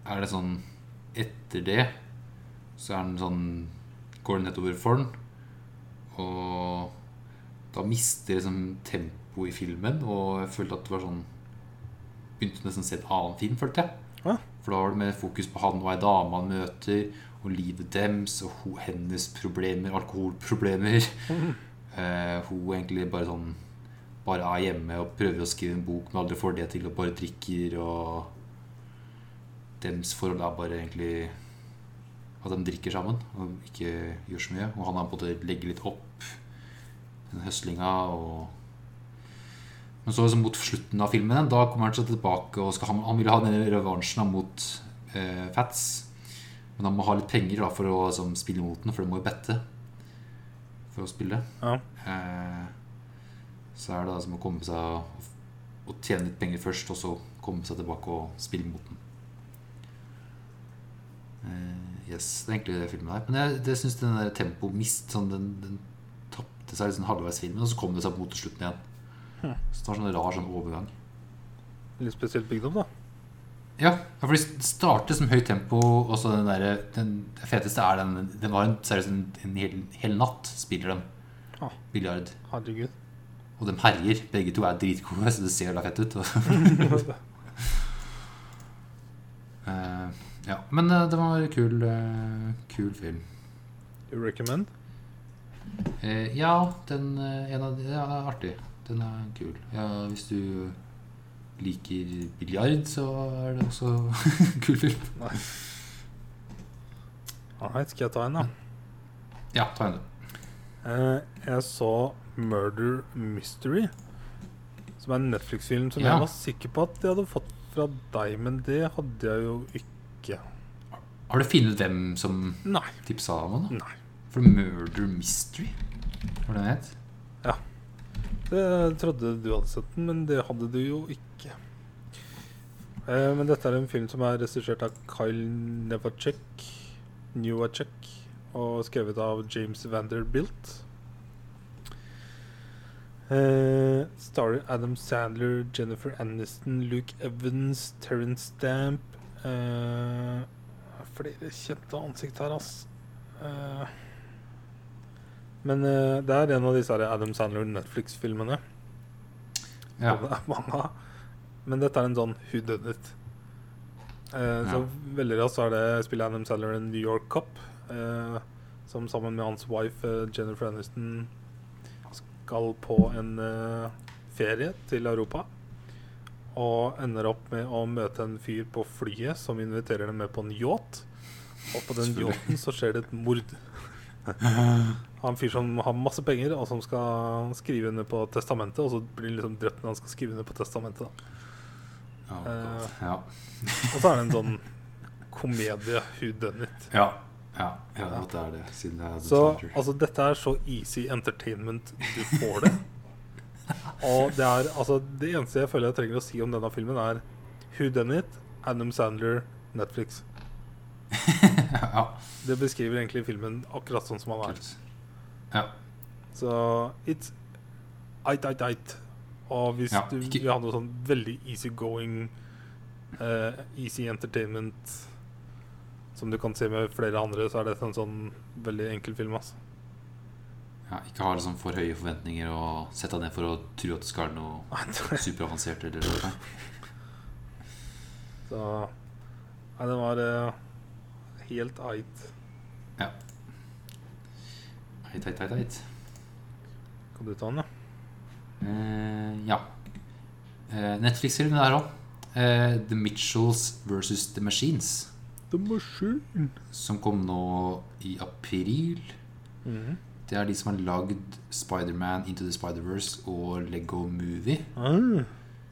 S2: er det sånn Etter det så er den sånn Går det nedover for den. Og da mister liksom tempoet i filmen, og jeg følte at det var sånn Begynte nesten å se en annen film, følte jeg.
S1: Ja.
S2: For da var det mer fokus på han og ei dame han møter, og livet deres, og ho, hennes problemer, alkoholproblemer. Eh, hun egentlig bare sånn bare er hjemme og prøver å skrive en bok, men aldri får det til, og bare drikker, og dems forhold er bare egentlig at de drikker sammen og ikke gjør så mye. Og han er på en måte legger litt opp den høslinga og Men så liksom mot slutten av filmen da kommer han seg tilbake og skal, han, han vil ha den revansjen da, mot eh, Fats. Men han må ha litt penger da, for å liksom, spille mot den, for du må jo bette for å spille.
S1: Ja.
S2: Eh, så er det da som å komme seg og, og tjene litt penger først, og så komme seg tilbake og spille mot den. Eh, yes, det er egentlig det filmen er. Men jeg, det syns den der tempo mist sånn, den, den tapte seg liksom halvveis i filmen, og så kom det seg mot til slutten igjen.
S1: Hm.
S2: Så det var sånn rar sånn overgang.
S1: Litt spesielt bygd opp, da.
S2: Ja, ja, for det starter som høyt tempo, og så den derre Den det feteste er den Den var en, seriøst en, en hel, hel natt, spiller den.
S1: Ah.
S2: Biljard.
S1: Herregud.
S2: Og de herjer. Begge to er dritgode, så det ser jævla fett ut. Eh, ja, men eh, det var en kul, eh, kul film.
S1: You recommend?
S2: Eh, ja, den eh, en av de, ja, den er artig. Den er kul. Ja, hvis du liker biljard, så er det også en kul film.
S1: Nei, skal jeg ta en, da?
S2: Ja, ta en, du.
S1: Eh, jeg så Murder Mystery, som er en Netflix-film som
S2: Ja.
S1: jeg var sikker på at jeg hadde fått fra deg, men det hadde jeg jo ikke.
S2: Har du funnet ut hvem som
S1: Nei.
S2: tipsa om den? da?
S1: Nei.
S2: For Murder Mystery? Hva var det den het?
S1: Det trodde du hadde sett den, men det hadde du jo ikke. Eh, men dette er en film som er regissert av Kyle Nevacek, Newacek, og skrevet av James Vanderbilt. Eh, starrer Adam Sandler, Jennifer Aniston, Luke Evans, Terence Stamp eh, Flere kjente ansikt her, ass. Eh, men eh, det er en av disse her Adam Sandler-Netflix-filmene.
S2: Ja.
S1: Og Det er mange av. Men dette er en sånn who done it. Eh, så
S2: Ja.
S1: veldig raskt så er det spiller Adam Sandler en New York Cup, eh, som sammen med hans wife eh, Jennifer Aniston skal på en eh, ferie til Europa. Og ender opp med å møte en fyr på flyet som inviterer dem med på en yacht. Og på den
S2: Selvfølgelig.
S1: yachten så skjer det et mord. Han fyr som har masse penger, og som skal skrive under på testamentet. Og så blir han liksom drept når han skal skrive under på testamentet. Da.
S2: Oh, God.
S1: Eh.
S2: ja.
S1: Og så er det en sånn komedie who done it.
S2: Ja. ja. Ja, det er det. Siden det er Adam
S1: Så
S2: Sandler.
S1: altså, dette er så easy entertainment du får det. Og det er altså Det eneste jeg føler jeg trenger å si om denne filmen, er Who Done It, Adam Sandler, Netflix.
S2: ja.
S1: Det beskriver egentlig filmen akkurat sånn som han er.
S2: Kult. Ja.
S1: Så it's eit, eit, eit. Og hvis
S2: Ja,
S1: du
S2: ikke-
S1: vil ha noe sånn veldig easy going, eh, easy entertainment som du kan se med flere andre, så er dette en sånn veldig enkel film. Altså.
S2: ja. Ikke ha liksom for høye forventninger og sette deg ned for å tro at det skal være noe superavansert. Eller noe.
S1: Så Nei, den var eh, helt eit.
S2: Heit, heit, heit, heit.
S1: Kan du ta den, da?
S2: Eh, ja. Eh, Netflix-film der òg. Eh, The Mitchells versus The Machines.
S1: The Machine.
S2: Som kom nå i april.
S1: Mhm.
S2: Det er de som har lagd Spiderman Into the Spider-Verse og Lego Movie.
S1: ah,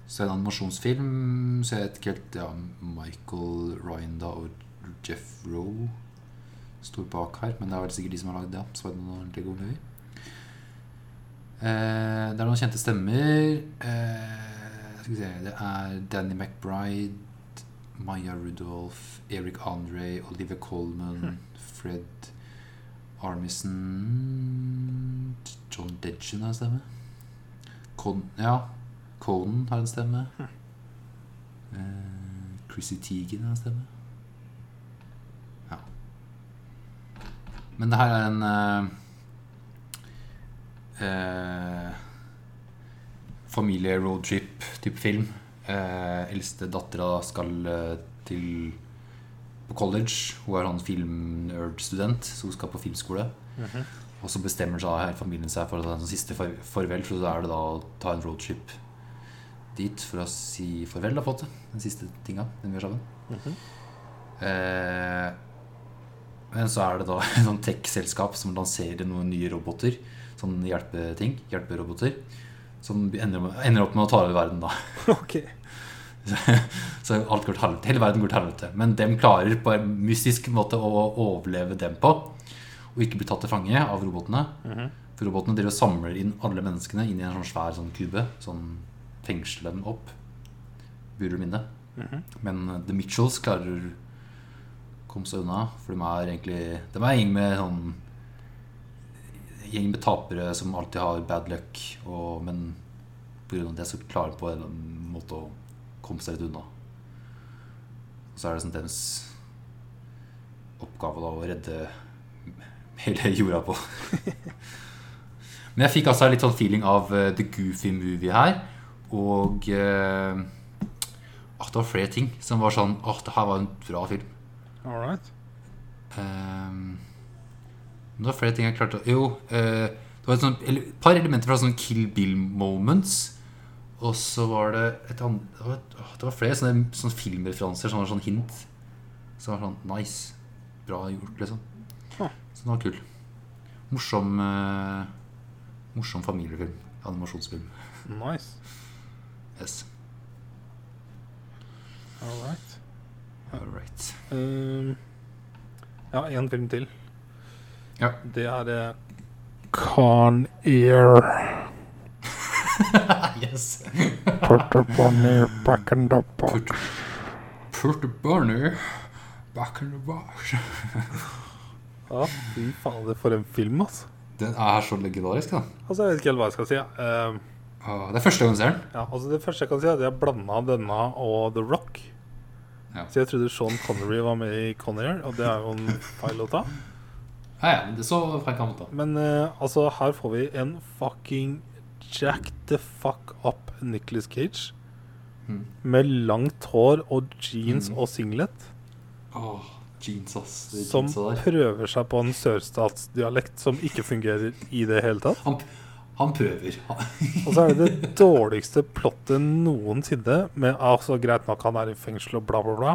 S2: Så en animasjonsfilm Så jeg vet ikke helt ja, Michael Ryan da og Jeff Rowe står bak her, men det er vel sikkert de som har lagd det. ja, Spider-Man og Lego Movie. Eh, det er noen kjente stemmer. Eh, skal vi se Det er Danny McBride, Maya Rudolph, Eric Andre, Oliver Coleman, Fred Armisen John Deggen har en stemme. Con ja, Conan har en stemme. Eh, Chrissy Teigen har en stemme. Ja. Men det her er en eh, eh, familie-roadtrip-type film. Eh, eldste dattera skal eh, til på college. Hun er sånn filmnerd-student, så hun skal på filmskole. Og så bestemmer seg her familien seg for å ta en sånn siste far farvel, så da er det da å ta en roadtrip dit for å si farvel, da, på en måte. Den siste tinga den vi gjør sammen. eh, men så er det da et sånt tech-selskap som lanserer noen nye roboter. Sånn hjelpeting. Hjelperoboter. Som ender, ender opp med å ta over verden, da.
S1: OK.
S2: Så alt går til helvete. Hele verden går til helvete. Men dem klarer på en mystisk måte å overleve dem på. Og ikke bli tatt til fange av robotene.
S1: Mhm.
S2: For robotene driver og samler inn alle menneskene inn i en sånn svær sånn kube. Sånn fengsler dem opp. Burde minne.
S1: Mhm.
S2: Men eh, The Mitchells klarer å komme seg unna. For de er egentlig De er en gjeng med sånn Gjeng med tapere som alltid har bad luck. Og, men pga. det så klarer de på en eller annen måte å komme seg litt unna. Og så er det sånn deres oppgave da å redde hele jorda på. Men jeg fikk altså litt sånn feeling av eh, The Goofy Movie her. Og eh, at det var flere ting som var sånn Åh, det her var en bra film.
S1: All right.
S2: Ehm, men det var flere ting jeg klarte å Jo, eh, det var et sånt, eller, et par elementer fra sånne Kill Bill moments. Og så var det et annet Det var, et- åh, det var flere sånne, sånne filmreferanser som var sånn hint. Som var sånn nice. Bra gjort, liksom.
S1: Ja.
S2: Så den var kul. Morsom eh, Morsom familiefilm. Animasjonsfilm.
S1: Nice.
S2: Yes.
S1: All right.
S2: All right.
S1: Um, ja, én film til.
S2: Ja.
S1: Det er eh, Con Air.
S2: yes.
S1: Put the bunny back in the box.
S2: Put, put the bunny back in the box.
S1: Ja, fy fader, for en film, altså.
S2: Den er så legendarisk, da.
S1: Altså, Jeg vet ikke helt hva jeg skal si. ja. Um,
S2: Åh, det er første gang jeg ser den.
S1: Ja, altså Det første jeg kan si, er at jeg blanda denne og The Rock.
S2: Ja.
S1: Så jeg trodde Sean Connery var med i Conair, og det er jo en feil å ta.
S2: Ja, ja, men det er så feil kan man ta.
S1: Men eh, altså, her får vi en fucking jack the fuck up Nicholas Cage.
S2: Mm.
S1: Med langt hår og jeans
S2: Mm.
S1: og singlet.
S2: Åh, jeans, ass. Det er
S1: Som
S2: jeansa der.
S1: prøver seg på en sørstatsdialekt som ikke fungerer i det hele tatt.
S2: Han, han prøver. Han-
S1: Og så er det det dårligste plottet noensinne. Med altså, greit nok, han er i fengsel og bla, bla, bla.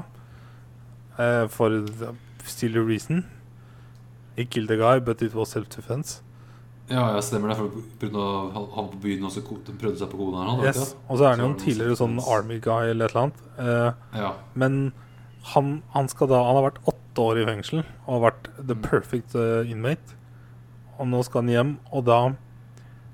S1: Eh, for the still a reason. He killed the guy, but it was self-defense.
S2: Ja, ja, stemmer det. For på grunn av han han på byen også ko- de prøvde seg på koden her. Han,
S1: Yes. Og så er han jo en
S2: Så
S1: tidligere sånn army guy eller et eller annet. Eh,
S2: Ja.
S1: men han, han skal da Han har vært åtte år i fengsel og har vært the
S2: Mm.
S1: perfect eh, inmate. Og nå skal han hjem, og da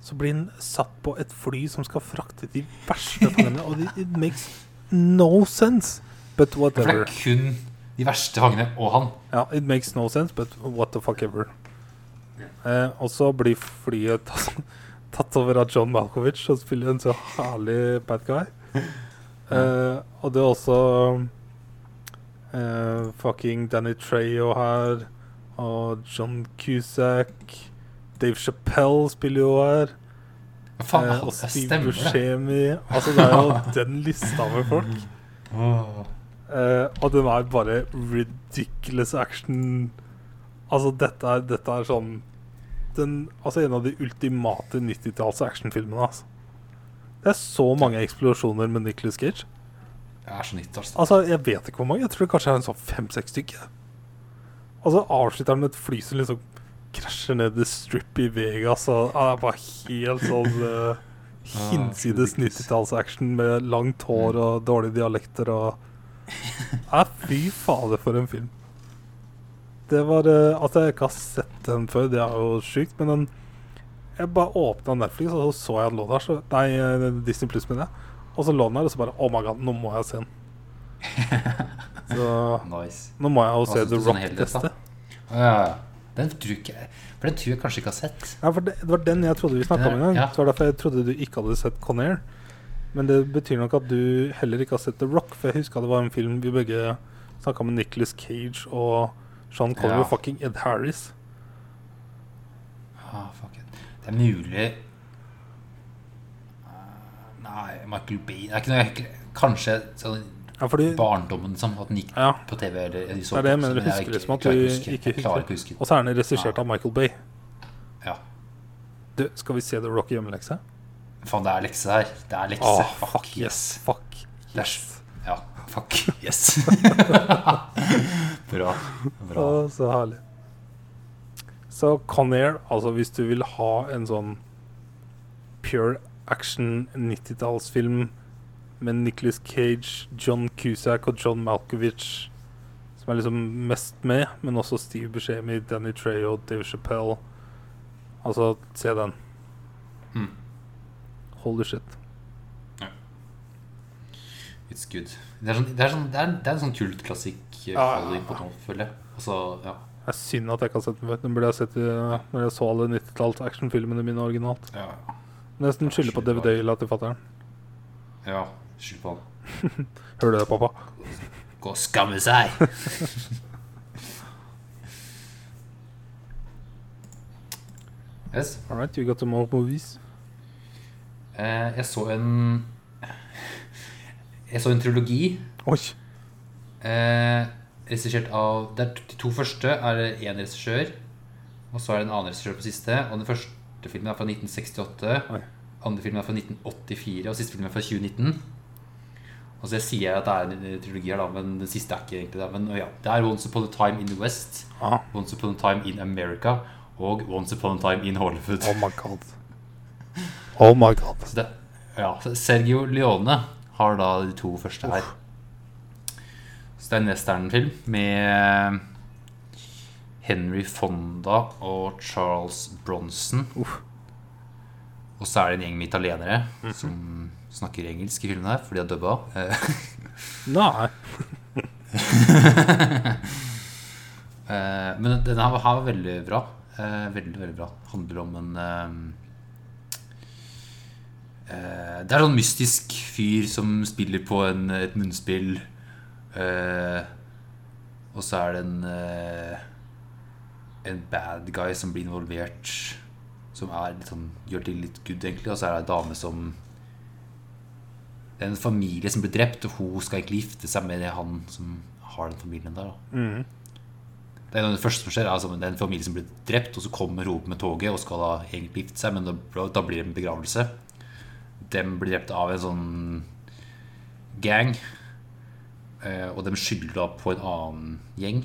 S1: så blir han satt på et fly som skal frakte de verste fangene. og det, it makes no sense, but
S2: For det
S1: whatever.
S2: er kun de verste fangene og han.
S1: Ja, it makes no sense, but what the fuck ever. Eh, og så blir flyet tatt, tatt over av John Malkovich, som spiller en så herlig bad guy. Eh, og det er også eh, fucking Danny Trejo her, og John Cusack. Dave Chappelle spiller jo her.
S2: Ja, faen,
S1: eh,
S2: han,
S1: og
S2: det
S1: Steve
S2: stemmer det.
S1: Buscemi. Altså, det er jo den lista med folk.
S2: Åh.
S1: Eh, og den er bare ridiculous action. Altså, dette er, dette er sånn den, Altså en av de ultimate 90-talls actionfilmene. Altså. Det er så mange eksplosjoner med Nicholas Cage.
S2: Det er så nytt, ass.
S1: Altså, Jeg vet ikke hvor mange. Jeg tror det kanskje er en sånn fem-seks stykker. Og så avslutter han med et fly som liksom krasjer ned The Strip i Vegas. Og ja, det er bare helt sånn eh, hinsides
S2: ridiculous.
S1: 90-talls-action med langt hår og dårlige dialekter og Ja, fy fader, for en film. Det var eh, At jeg ikke har sett den før, det er jo sjukt, men den Jeg bare åpna Netflix, og så så jeg at den lå der. Så, nei, eh, Disney Pluss, mener jeg. Og så lå den der, og så bare Oh my god, nå må jeg se den. Så
S2: Nice.
S1: nå må jeg jo
S2: Hva
S1: se The
S2: synes du sånn
S1: Rock
S2: helhet, da?
S1: teste.
S2: Ja, ja, ja. Den tror ikke jeg For den tror jeg kanskje ikke har sett.
S1: Ja, for det, det var den jeg trodde vi snakka om en gang.
S2: Ja.
S1: Så var det derfor jeg trodde du ikke hadde sett Conair. Men det betyr nok at du heller ikke har sett The Rock, for jeg huska det var en film vi begge snakka med Nicholas Cage og Sean Connery
S2: Ja.
S1: og fucking Ed Harris.
S2: Ah, fuck it. Det er mulig Eh, Nei, Michael Bay Det er ikke noe jeg Kanskje sånn
S1: Ja, fordi
S2: barndommen liksom, at den gikk
S1: Ja.
S2: på TV eller jeg
S1: Det
S2: så
S1: er det jeg
S2: på,
S1: mener.
S2: men
S1: Du husker
S2: ikke-
S1: liksom at du
S2: klarer ikke å huske.
S1: ikke
S2: Jeg klarer ikke
S1: husker.
S2: å huske.
S1: Og så er den regissert av Michael Bay.
S2: Ja.
S1: Du, skal vi se The Rock i hjemmelekse?
S2: Faen, det er lekse her. Det er lekse.
S1: Åh,
S2: fuck, yes.
S1: Ah, Fuck.
S2: Det er s- Ja, fuck yes. Bra. Bra.
S1: Å, så herlig. Så Conair, altså hvis du vil ha en sånn pure action 90-tallsfilm med Nicholas Cage, John Cusack og John Malkovich som er liksom mest med, men også Steve Buscemi, Danny Trejo, Dave Chappelle. Altså, se den.
S2: Mm.
S1: Holy shit.
S2: It's good. Det er, sånn, det er, sånn, det er, det er en sånn kultklassisk eh,
S1: Ja, ja,
S2: quality
S1: ja.
S2: på noe, føler jeg. Altså, ja.
S1: Det er synd at jeg ikke har sett den før. Den burde jeg sett i, når jeg så alle 90-talls actionfilmene mine originalt.
S2: ja.
S1: Nesten skylder på DVD-hylla til fatter'n.
S2: ja. Skyld på han.
S1: Hører du det, pappa?
S2: Gå og skamme seg! yes.
S1: All right, you got them all movies.
S2: Eh, jeg så en Jeg så en trilogi
S1: Oi!
S2: eh, regissert av det er, De to første er én regissør, og så er det en annen regissør på siste. Og den første filmen er fra 1968,
S1: Oi.
S2: andre filmen er fra 1984, og siste filmen er fra 2019. Og så jeg sier at det er en eh, trilogi her, da, men den siste er ikke egentlig det. Men ja, det er Once Upon a Time in the West,
S1: Ah,
S2: Once Upon a Time in America og Once Upon a Time in Hollywood.
S1: oh my god. Oh my god.
S2: Så det, ja, så Sergio Leone har da de to første her. Så det er en westernfilm med Henry Fonda og Charles Bronson.
S1: Uff.
S2: Og så er det en gjeng med italienere som snakker engelsk i filmen her, for de har dubba. Eh,
S1: Nei.
S2: Eh, men denne her var- her var veldig bra. Eh, veldig, veldig bra. Handler om en eh, eh, Det er sånn mystisk fyr som spiller på en, et munnspill. eh, og så er det en eh, En bad guy som blir involvert. Som er litt sånn, gjør ting litt good, egentlig. Og så er det ei dame som Det er en familie som blir drept, og hun skal egentlig gifte seg med han som har den familien der. da
S1: Mhm.
S2: det er noe av det første som skjer, er altså, det er en familie som blir drept, og så kommer Rope med toget og skal da egentlig gifte seg, men da, da blir det en begravelse. De blir drept av en sånn gang, eh, og de skylder da på en annen gjeng.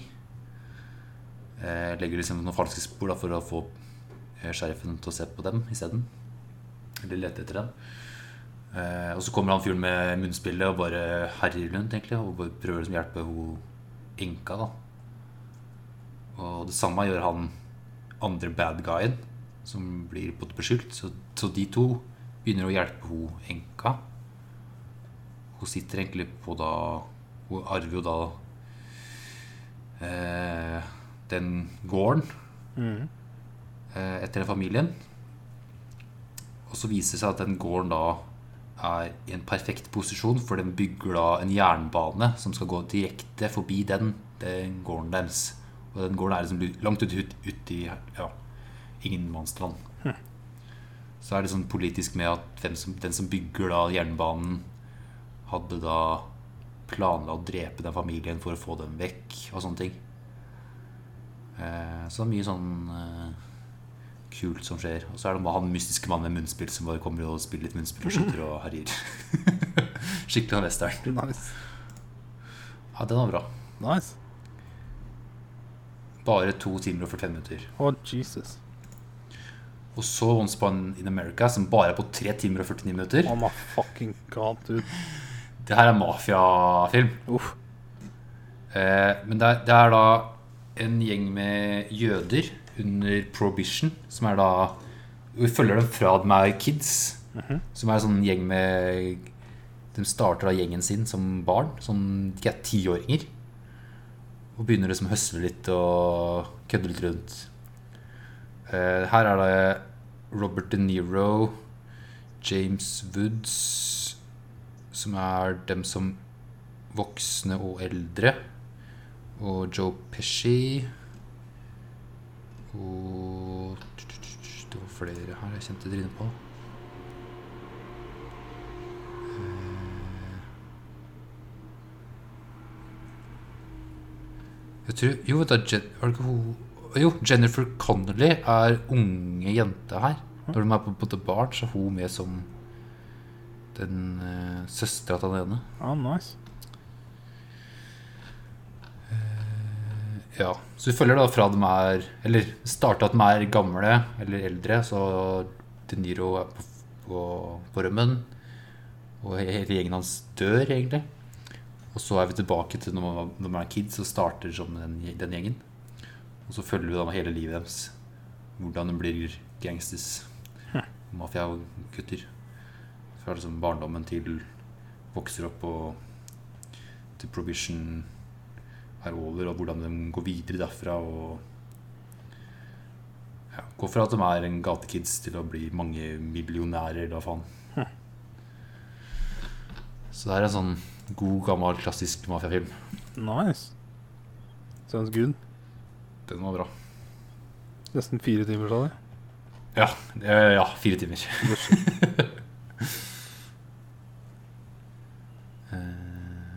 S2: Eh, legger liksom noen falske spor da, for å få eh, sheriffen til å se på dem isteden. Eller lete etter dem. Eh, og så kommer han fyren med munnspillet og bare herjer rundt, egentlig, og bare prøver liksom å hjelpe hun enka, da. Og det samme gjør han andre bad guyen, som blir på en måte beskyldt. Så, så de to begynner å hjelpe ho enka. Hun sitter egentlig på da Hun arver jo da eh, den gården
S1: Mhm.
S2: eh, etter den familien. Og så viser det seg at den gården da er i en perfekt posisjon, for den bygger da en jernbane som skal gå direkte forbi den, den gården deres. Og den gården er liksom langt ute ut, ut i ja, ingenmannsland. Så er det sånn politisk med at hvem som, den som bygger da jernbanen, hadde da planla å drepe den familien for å få dem vekk, og sånne ting. Eh, så mye sånn eh, kult som skjer. Og så er det bare han mystiske mannen med munnspill som bare kommer og spiller litt munnspill og skyter og herjer. Skikkelig sånn western.
S1: Nice.
S2: Ja, den var bra.
S1: Nice.
S2: Bare to timer og 45 minutter.
S1: Oh, Jesus.
S2: Og så Once Upon in America, som bare er på tre timer og 49 minutter.
S1: Oh my fucking god, dude.
S2: Det her er mafiafilm.
S1: Uff.
S2: Eh, men det er, det er da en gjeng med jøder under prohibition, som er da Vi følger dem fra de er kids. Som er en sånn gjeng med De starter da gjengen sin som barn, som ikke er tiåringer. Og begynner liksom å høsle litt og kødde litt rundt. Eh, her er det Robert De Niro, James Woods, som er dem som voksne og eldre. Og Joe Pesci. Og Det var flere her jeg kjente trynet på. Eh, Jeg tror Jo, vent da. Jen, var det ikke hun Jo, Jennifer Connolly er unge jente her. Når de er på, på The Barn, så er hun med som den uh, søstera til den ene.
S1: Ah, nice.
S2: Ja, så vi følger da fra de er Eller starter at de er gamle eller eldre, så De Niro er på på, på rømmen. Og he- hele gjengen hans dør, egentlig. Og så er vi tilbake til når man, var- når man er kids og starter som den, den gjengen. Og så følger vi da hele livet deres. Hvordan de blir gangsters. Mafia og gutter. Fra liksom barndommen til vokser opp og til provision er over, og hvordan de går videre derfra og ja, Går fra at de er en gatekids til å bli mange millionærer, da faen. Så det er en sånn god, gammel, klassisk mafiafilm.
S1: Nice. Sounds good.
S2: Den var bra.
S1: Nesten fire timer, sa du?
S2: Ja, eh, ja fire timer. Eh,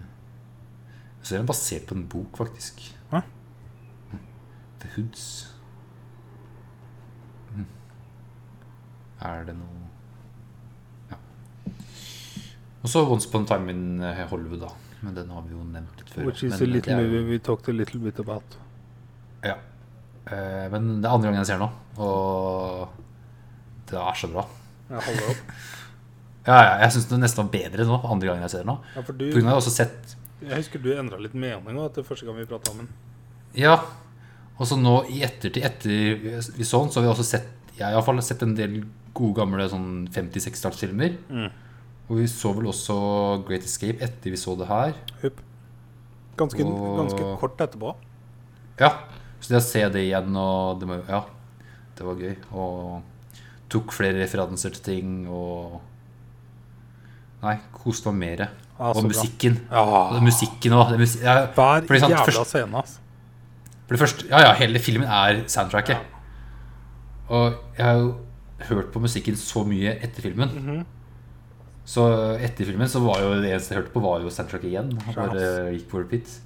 S2: Så er den basert på en bok, faktisk. Mm.
S1: Hæ?
S2: The Hoods. Mm. Er det noe Ja. Og så Once Upon a Time in eh, Hollywood, da. Men den har vi jo nevnt litt før.
S1: Which is
S2: men eh,
S1: a
S2: det
S1: little
S2: er jo-
S1: movie we talked a little bit about.
S2: Ja. Eh, Men det er andre gangen jeg ser den nå, og det er så bra.
S1: Jeg holder opp.
S2: Ja, ja, jeg syns den nesten var bedre nå, andre gangen jeg ser den nå.
S1: Ja, for du,
S2: På grunn av at jeg har også sett
S1: jeg husker du endra litt mening også, etter første gang vi prata sammen.
S2: Ja. Og så nå i ettertid, etter vi så den, så har vi også sett Jeg har i hvert fall sett en del gode gamle sånn 50-60-tallsfilmer.
S1: Mm.
S2: Og vi så vel også Great Escape etter vi så det her.
S1: Hupp. Ganske,
S2: Og-
S1: ganske kort etterpå.
S2: Ja, Så det å se det igjen, og det, må- ja, det var gøy. Og tok flere referanser til ting og Nei, koste meg mer.
S1: Ja,
S2: og
S1: så bra.
S2: musikken. Og
S1: Ah,
S2: den musikken òg. Musik ja,
S1: hver
S2: fordi sånn,
S1: jævla
S2: først-
S1: scene, altså.
S2: For det første, ja, ja, hele filmen er soundtracket. Og jeg har jo hørt på musikken så mye etter filmen. Så etter filmen så var jo det eneste jeg hørte på, var jo soundtracket igjen. Han
S1: Sure.
S2: bare gikk på repeat.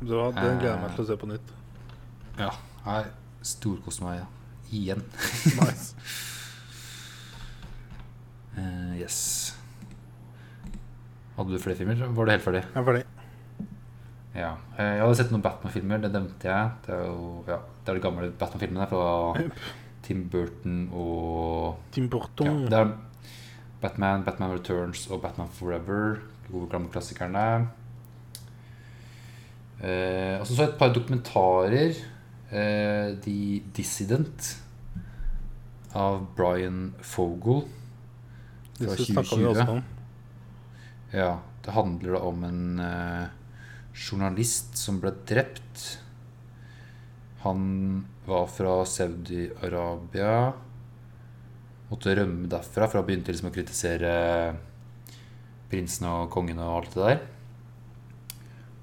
S1: Bra, Den gleder jeg meg til å se på nytt.
S2: Ja. Jeg storkoste meg igjen.
S1: Nice.
S2: Eh, yes. Hadde du flere filmer? Var du helt ferdig?
S1: Jeg er ferdig.
S2: Ja. Eh, jeg hadde sett noen Batman-filmer, det nevnte jeg. Det er jo ja, det er de gamle Batman-filmene fra Tim Burton og
S1: Tim
S2: Ja,
S1: Burton.
S2: det er Batman, Batman Returns og Batman Forever. De gode gamle klassikerne. Eh, og så så jeg et par dokumentarer. Eh, The Dissident av Brian Fogel.
S1: Det
S2: fra
S1: snakka vi
S2: 2020.
S1: også om.
S2: Ja, det handler da om en eh, journalist som ble drept. Han var fra Saudi-Arabia. Måtte rømme derfra, for han begynte liksom å kritisere prinsen og kongen og alt det der.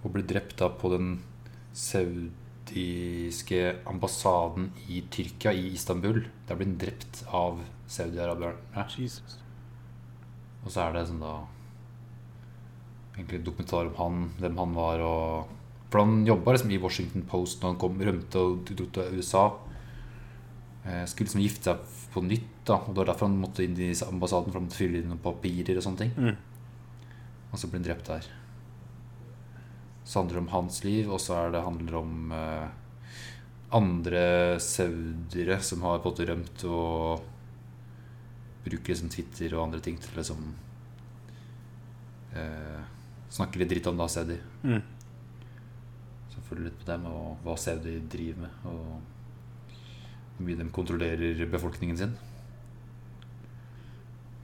S2: Og ble drept da på den saudiske ambassaden i Tyrkia, i Istanbul. Der ble han drept av saudi-arabierne.
S1: Jesus.
S2: Og så er det sånn da Egentlig dokumentar om han, hvem han var og For han jobba liksom i Washington Post når han kom, rømte og dro til USA. Eh, Skulle liksom gifte seg på nytt, da og det var derfor han måtte inn i ambassaden. For han måtte fylle inn noen papirer og sånne ting.
S1: Mm.
S2: Og så ble han drept der. Så handler det om hans liv, og så er det handler det om eh, andre saudiere som har på en måte rømt og bruker liksom Twitter og andre ting til liksom eh, Snakke litt dritt om da Saudi.
S1: Mm.
S2: Så følger litt på dem og hva Saudi driver med, og hvor mye de kontrollerer befolkningen sin.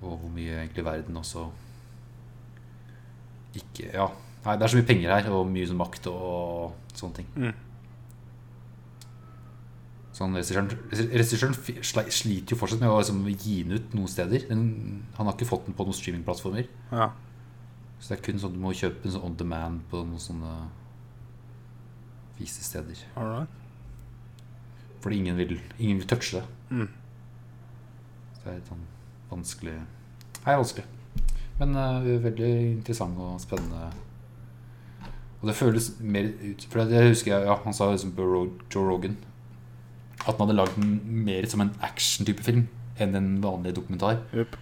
S2: Og hvor mye egentlig verden også ikke Ja. Nei, det er så mye penger her, og mye sånn makt og sånne ting.
S1: Mm.
S2: Så han Sånn regissøren regissøren fi- sli- sliter jo fortsatt med å liksom, gi den ut noen steder. Den, han har ikke fått den på noen streamingplattformer.
S1: Ja.
S2: Så det er kun sånn du må kjøpe en sånn on demand på noen sånne visesteder.
S1: All right.
S2: Fordi ingen vil, ingen vil touche det.
S1: Mm.
S2: Så det er litt sånn vanskelig Nei, vanskelig. Men eh, veldig interessant og spennende. Og det føles mer ut For det husker jeg ja, han sa liksom på Ro- Joe Rogan. At han hadde lagd den mer som en action-type film enn en vanlig dokumentar.
S1: Jupp.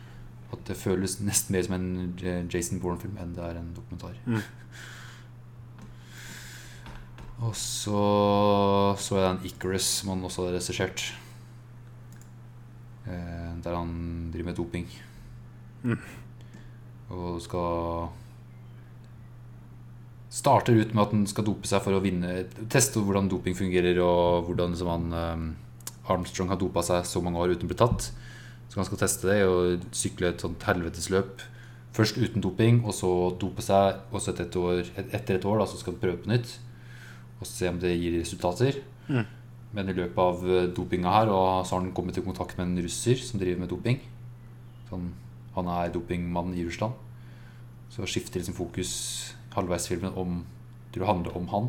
S2: At det føles nesten mer som en J- Jason Bourne-film enn det er en dokumentar.
S1: Mm.
S2: Og så så jeg den Icarus som han også hadde regissert. eh, der han driver med doping.
S1: Mm.
S2: Og skal Starter ut med at han skal dope seg for å vinne teste hvordan doping fungerer, og hvordan som han eh, Armstrong har dopa seg så mange år uten å bli tatt. Så han skal teste det og sykle et sånt helvetesløp. Først uten doping, og så dope seg. Og så etter et år, et- etter et år da, så skal han prøve på nytt og se om det gir resultater.
S1: Mm.
S2: Men i løpet av eh, dopinga her og så har han kommet i kontakt med en russer som driver med doping. Sånn, han er dopingmann i Russland. Så skifter liksom fokus halvveis i filmen om, til å handle om han.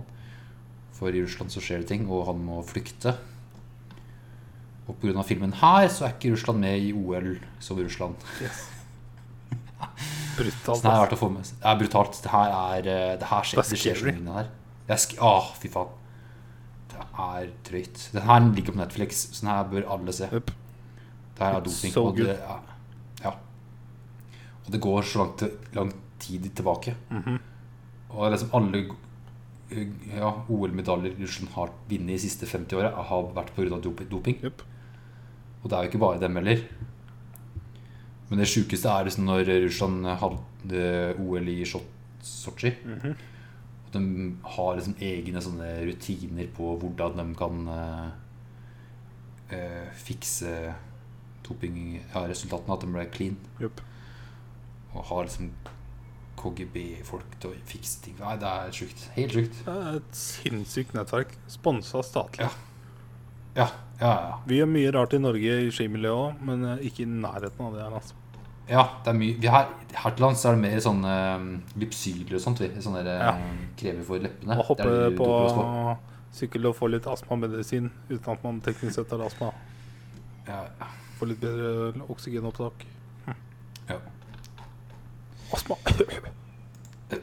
S2: For i Russland så skjer det ting, og han må flykte. Og pga. filmen her så er ikke Russland med i OL som Russland. Så
S1: Brutalt.
S2: det er
S1: ass.
S2: verdt å få med seg. Det er brutalt. Det her, er, eh, det her skjer,
S1: Det er
S2: det skjer så
S1: scary.
S2: mye her. Det er sk ah, fy faen. Det er drøyt. Den her ligger på Netflix, så den her bør alle se.
S1: Yep.
S2: Det her er
S1: It's
S2: doping.
S1: so
S2: og det, er- ja. Og det går så langt, lang tid tilbake.
S1: Mhm.
S2: Og liksom alle eh, ja, OL-medaljer Russland har vunnet de siste 50 åra, har vært pga. doping. doping.
S1: Yep.
S2: Og det er jo ikke bare dem heller. Men det sjukeste er liksom når Russland hadde OL i Sot- Sotsji.
S1: Mhm.
S2: Og de har liksom egne sånne rutiner på hvordan de kan eh, eh, fikse doping, ja, resultatene, at de ble clean.
S1: Yep.
S2: Og har liksom KGB-folk til å fikse ting. Nei, det er sjukt. Helt sjukt.
S1: Det er et sinnssykt nettverk. Sponsa statlig.
S2: Ja. Ja, ja, ja.
S1: Vi gjør mye rart i Norge i skimiljøet òg, men eh, ikke i nærheten av det her. Altså.
S2: Ja, det er mye vi har, Her til lands er det mer sånne eh, lypsyler og sånt. vi. Sånne der, eh, kremer for leppene.
S1: Å hoppe
S2: Det er det du
S1: på
S2: doper oss på.
S1: sykkel og få litt astmamedisin uten at man teknisk sett har astma.
S2: Ja,
S1: Få litt bedre oksygenopptak.
S2: ja.
S1: Astma!
S2: Eh,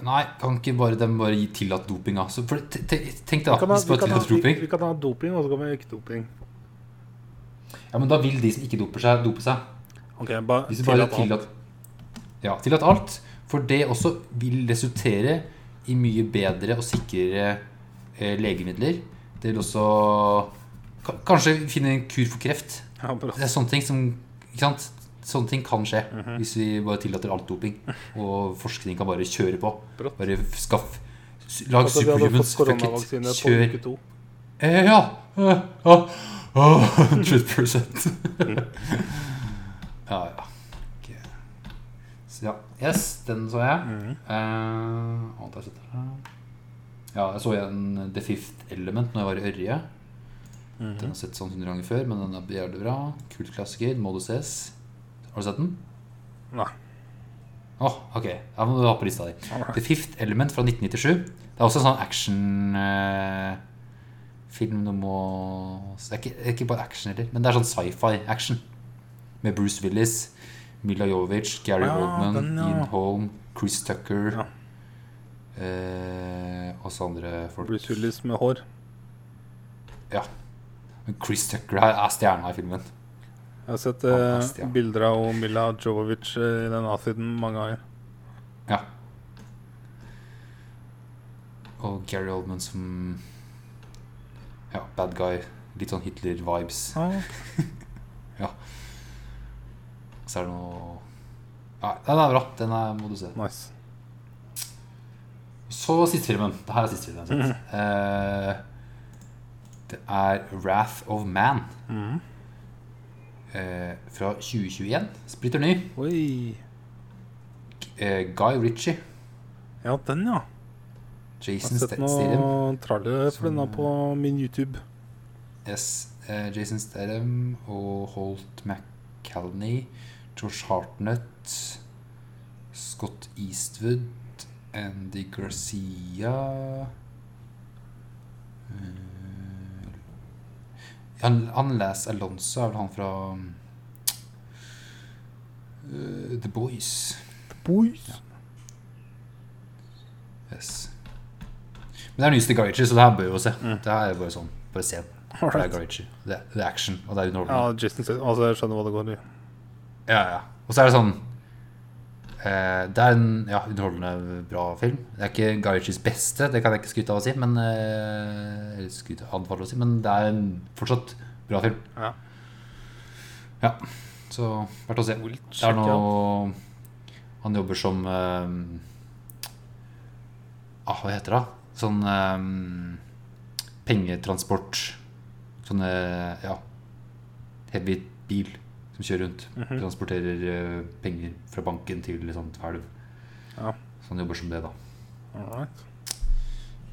S2: Nei, kan ikke bare dem bare gi tillate dopinga? Så for, te- te- tenk
S1: Vi
S2: deg, da.
S1: kan, ha,
S2: Hvis
S1: vi,
S2: bare
S1: kan ha,
S2: tillater
S1: vi,
S2: doping
S1: vi kan ha doping, og så kan vi ha ikke-doping.
S2: Ja, men da vil de som ikke doper seg, dope seg.
S1: Ok, bare
S2: Hvis vi bare
S1: tillat alt.
S2: tillat Ja, tillat alt. For det også vil resultere i mye bedre og sikrere eh, legemidler. Det vil også ka- Kanskje finne en kur for kreft.
S1: Ja, bra.
S2: Det er sånne ting som ikke sant? Sånne ting kan skje
S1: Mhm.
S2: hvis vi bare tillater alt doping. Og forskning kan bare kjøre på.
S1: Brått.
S2: Bare skaff s- Lag
S1: Altså, vi hadde fått
S2: superhumans. Fuck it.
S1: koronavaksine på
S2: Kjør.
S1: uke to.
S2: Eh, ja. Eh, ja. Åh, 100 Ja, ja. Ok. Så ja. Yes, den så jeg. Eh, annet jeg sitter her. Ja, jeg så igjen The Fifth Element når jeg var i Ørje. Den har jeg sett sånn 100 ganger før, men den er jævlig bra. Kult klassiker. Må du ses. Har du sett den?
S1: Nei.
S2: Åh, ok. Da må du ha på lista di. Ah. The Fifth Element fra 1997. Det er også en sånn action eh, Film du må så Det er ikke, det er ikke bare action heller, men det er sånn sci-fi-action. Med Bruce Willis, Mila Jovic, Gary
S1: Ja,
S2: Oldman,
S1: Ah, den, ja.
S2: Ian Holm, Chris Tucker
S1: Ja.
S2: eh, Og så andre folk.
S1: Bruce Willis med hår.
S2: Men Chris Tucker her er stjerna i filmen.
S1: Jeg har sett
S2: Han er
S1: eh,
S2: stjerne.
S1: bilder av Mila Jovovic eh, i den outfiten mange ganger.
S2: Ja. Og Gary Oldman som Ja, bad guy. Litt sånn Hitler-vibes. Så er det noe Nei, den er bra. Den er, må du se.
S1: Nice.
S2: Så siste filmen. Det her er siste filmen. jeg har sett. Eh, det er 'Wrath of Man'
S1: Mhm.
S2: eh, fra 2021. Splitter ny.
S1: Oi.
S2: Eh, Guy Ritchie.
S1: Ja, den, ja. Jeg
S2: Jason
S1: har sett
S2: Statham.
S1: noen trallere for
S2: Som,
S1: denne
S2: eh,
S1: på min YouTube.
S2: Yes, eh, Jason Statham og Holt McCalney. George Hartnett. Scott Eastwood. Andy Garcia Eh, han, han Las Alonso er vel han fra eh, The Boys.
S1: Boys.
S2: Yes. Men det er nyeste Guy Ritchie, så det her bør vi jo se.
S1: Mm.
S2: Det her er bare sånn, bare se den. Det er
S1: Alright.
S2: Guy Ritchie. Det, er- det er action, og det er underholdende.
S1: Ja, Jason Statham. Altså, jeg skjønner hva det går i.
S2: Ja, ja. Og så er det sånn eh, Det er en ja, underholdende bra film. Det er ikke Guy Ritchies beste, det kan jeg ikke skryte av å si, men eh, eller skryte anbefale å si, men det er en fortsatt bra film.
S1: Ja.
S2: Ja, så verdt å se.
S1: Wilt,
S2: Det er nå
S1: ja.
S2: Han jobber som eh, ah, Hva heter det? da? Sånn eh, pengetransport. Sånn eh, ja heavy bil som kjører rundt.
S1: Mhm.
S2: Transporterer eh, penger fra banken til liksom hvelv.
S1: Ja.
S2: Så han jobber som det, da.
S1: Alright.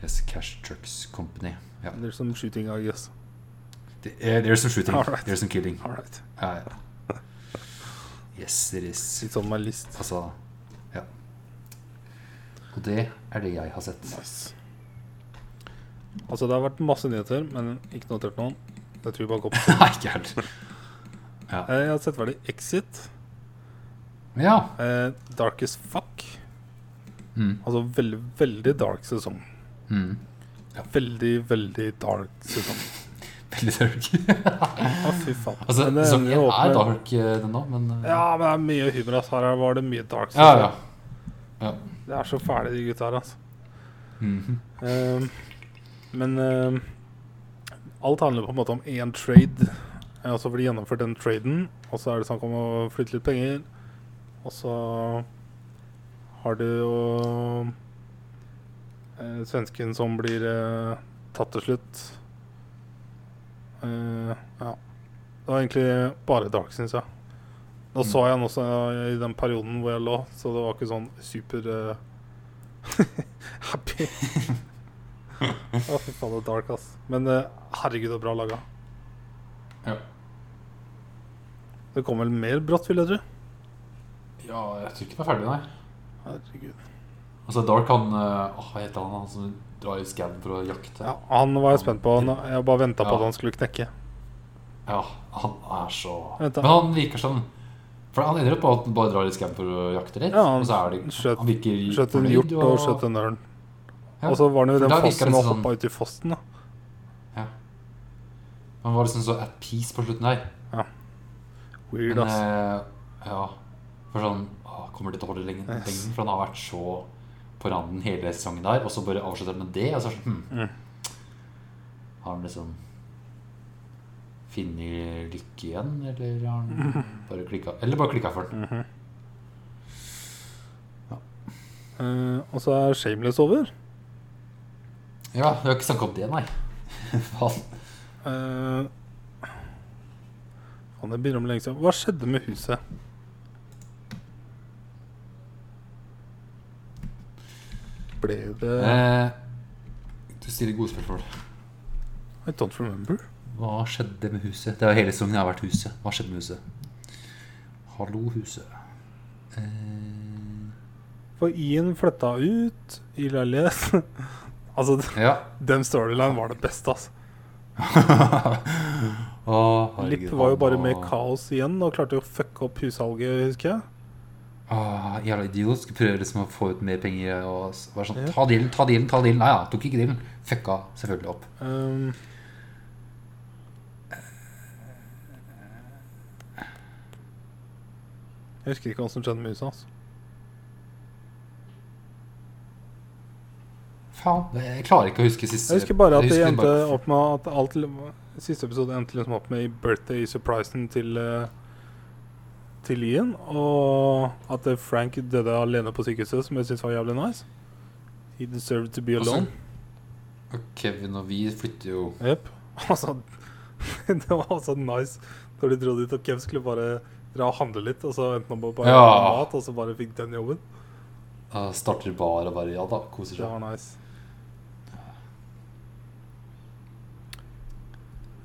S2: Yes, Cash Trucks Company. Ja.
S1: There's some shooting, I guess.
S2: Det er- There's some shooting.
S1: Alright.
S2: There's some killing.
S1: Alright.
S2: Ja, ja. Yes, there is.
S1: It's on my list.
S2: Altså Ja. Og det er det jeg har sett.
S1: Nice. Altså, det har vært masse nyheter, men ikke notert noen. Jeg tror vi bare går på.
S2: Nei, ikke helt.
S1: Eh, Jeg har sett ferdig Exit,
S2: Ja.
S1: eh, Dark as Fuck.
S2: Mm.
S1: Altså veldig, veldig dark sesong.
S2: Mm.
S1: Veldig, veldig dark sesong.
S2: Veldig dark.
S1: Å, fy faen.
S2: altså,
S1: Men eh, det
S2: sesong
S1: ender
S2: én
S1: jo opp
S2: er
S1: med-
S2: dark, eh, den nå, men eh,
S1: Ja, men det er mye humor. ass. Her var det mye dark
S2: ja.
S1: sesong.
S2: ja.
S1: Det er så fæle, de gutta her. Altså.
S2: Mhm.
S1: Ehm, men ehm, alt handler på en måte om én trade. Eh, Og så blir det gjennomført den traden, og så er det snakk om å flytte litt penger. Og så har du jo eh, svensken som blir eh, tatt til slutt. Eh, ja. Det var egentlig bare dark, syns jeg. Nå så jeg han også i den perioden hvor jeg lå, så det var ikke sånn super eh, happy. Å, fy faen, det er dark, ass. Men eh, herregud, det er bra laga.
S2: Ja.
S1: Det kom vel mer brått, vil jeg tro.
S2: ja, jeg tror ikke den er ferdig, nei.
S1: Herregud.
S2: Altså, Dark, han eh, Åh, Hva heter han, han som drar i skauen for å jakte?
S1: Ja, han var jeg spent på. Han, jeg bare venta på
S2: Ja.
S1: at han skulle knekke.
S2: Ja, han er så
S1: Vent da.
S2: Men han virker sånn For han ender opp på at han bare drar i skauen for å jakte litt.
S1: Ja, han
S2: og så er det,
S1: skjøt-
S2: han virker
S1: Skjøt en
S2: fornøyd,
S1: hjort og skjøt en ørn.
S2: Ja,
S1: Og så var han jo i
S2: for
S1: den
S2: da virker det
S1: fossen og
S2: sånn-
S1: hoppa uti fossen, da.
S2: Han var liksom så at peace på slutten der.
S1: Weird,
S2: Men,
S1: ass.
S2: eh, ja, for sånn åh, Kommer det til å holde lenge? lenge? For han har vært så på randen hele sesongen der, og så bare avslutter han med det. Og så er det sånn,
S1: Mm.
S2: hm. Har han liksom funnet lykke igjen, eller har han bare klikka Eller bare klikka for den.
S1: Eh, og så er Shameless over.
S2: Ja, vi har ikke snakka om det, nei. Faen.
S1: Eh, Faen, det begynner om lenge siden. Hva skjedde med huset? Ble det
S2: Eh, du stiller gode spørsmål.
S1: I don't remember.
S2: Hva skjedde med huset? Det er jo hele sesongen jeg har vært huset. Hva skjedde med huset? Hallo, huset. Eh,
S1: For Ian flytta ut i leilighet. altså,
S2: ja.
S1: den storyline var det beste, altså.
S2: Åh, herregud,
S1: Lipp var jo bare
S2: han
S1: med
S2: var-
S1: kaos igjen og klarte jo å fucke opp hussalget, husker jeg.
S2: Åh, jævla idiot. Skulle prøve liksom å få ut mer penger og s- bare sånn
S1: Ja.
S2: Ta dealen, ta dealen, ta dealen. Nei ja, tok ikke dealen. Fucka selvfølgelig opp.
S1: Ehm. Jeg husker ikke hva som skjedde med huset hans.
S2: Faen. Jeg klarer ikke å huske siste
S1: Jeg husker bare at
S2: jeg
S1: det
S2: husker
S1: endte
S2: bare-
S1: opp med at alt Siste episode endte liksom opp med i birthday surprisen til eh, Til Ian. Og at eh, Frank døde alene på sykehuset, som jeg syntes var jævlig nice. He deserved to be
S2: Altså-
S1: alone.
S2: Og Kevin og vi flytter jo
S1: Jep. Altså, det var altså nice når de dro dit at Kev skulle bare dra og handle litt, og så endte han på bare
S2: Ja.
S1: handle mat, og så bare fikk den jobben.
S2: uh, Starter bar og bare Ja da, koser
S1: Det
S2: seg.
S1: var nice.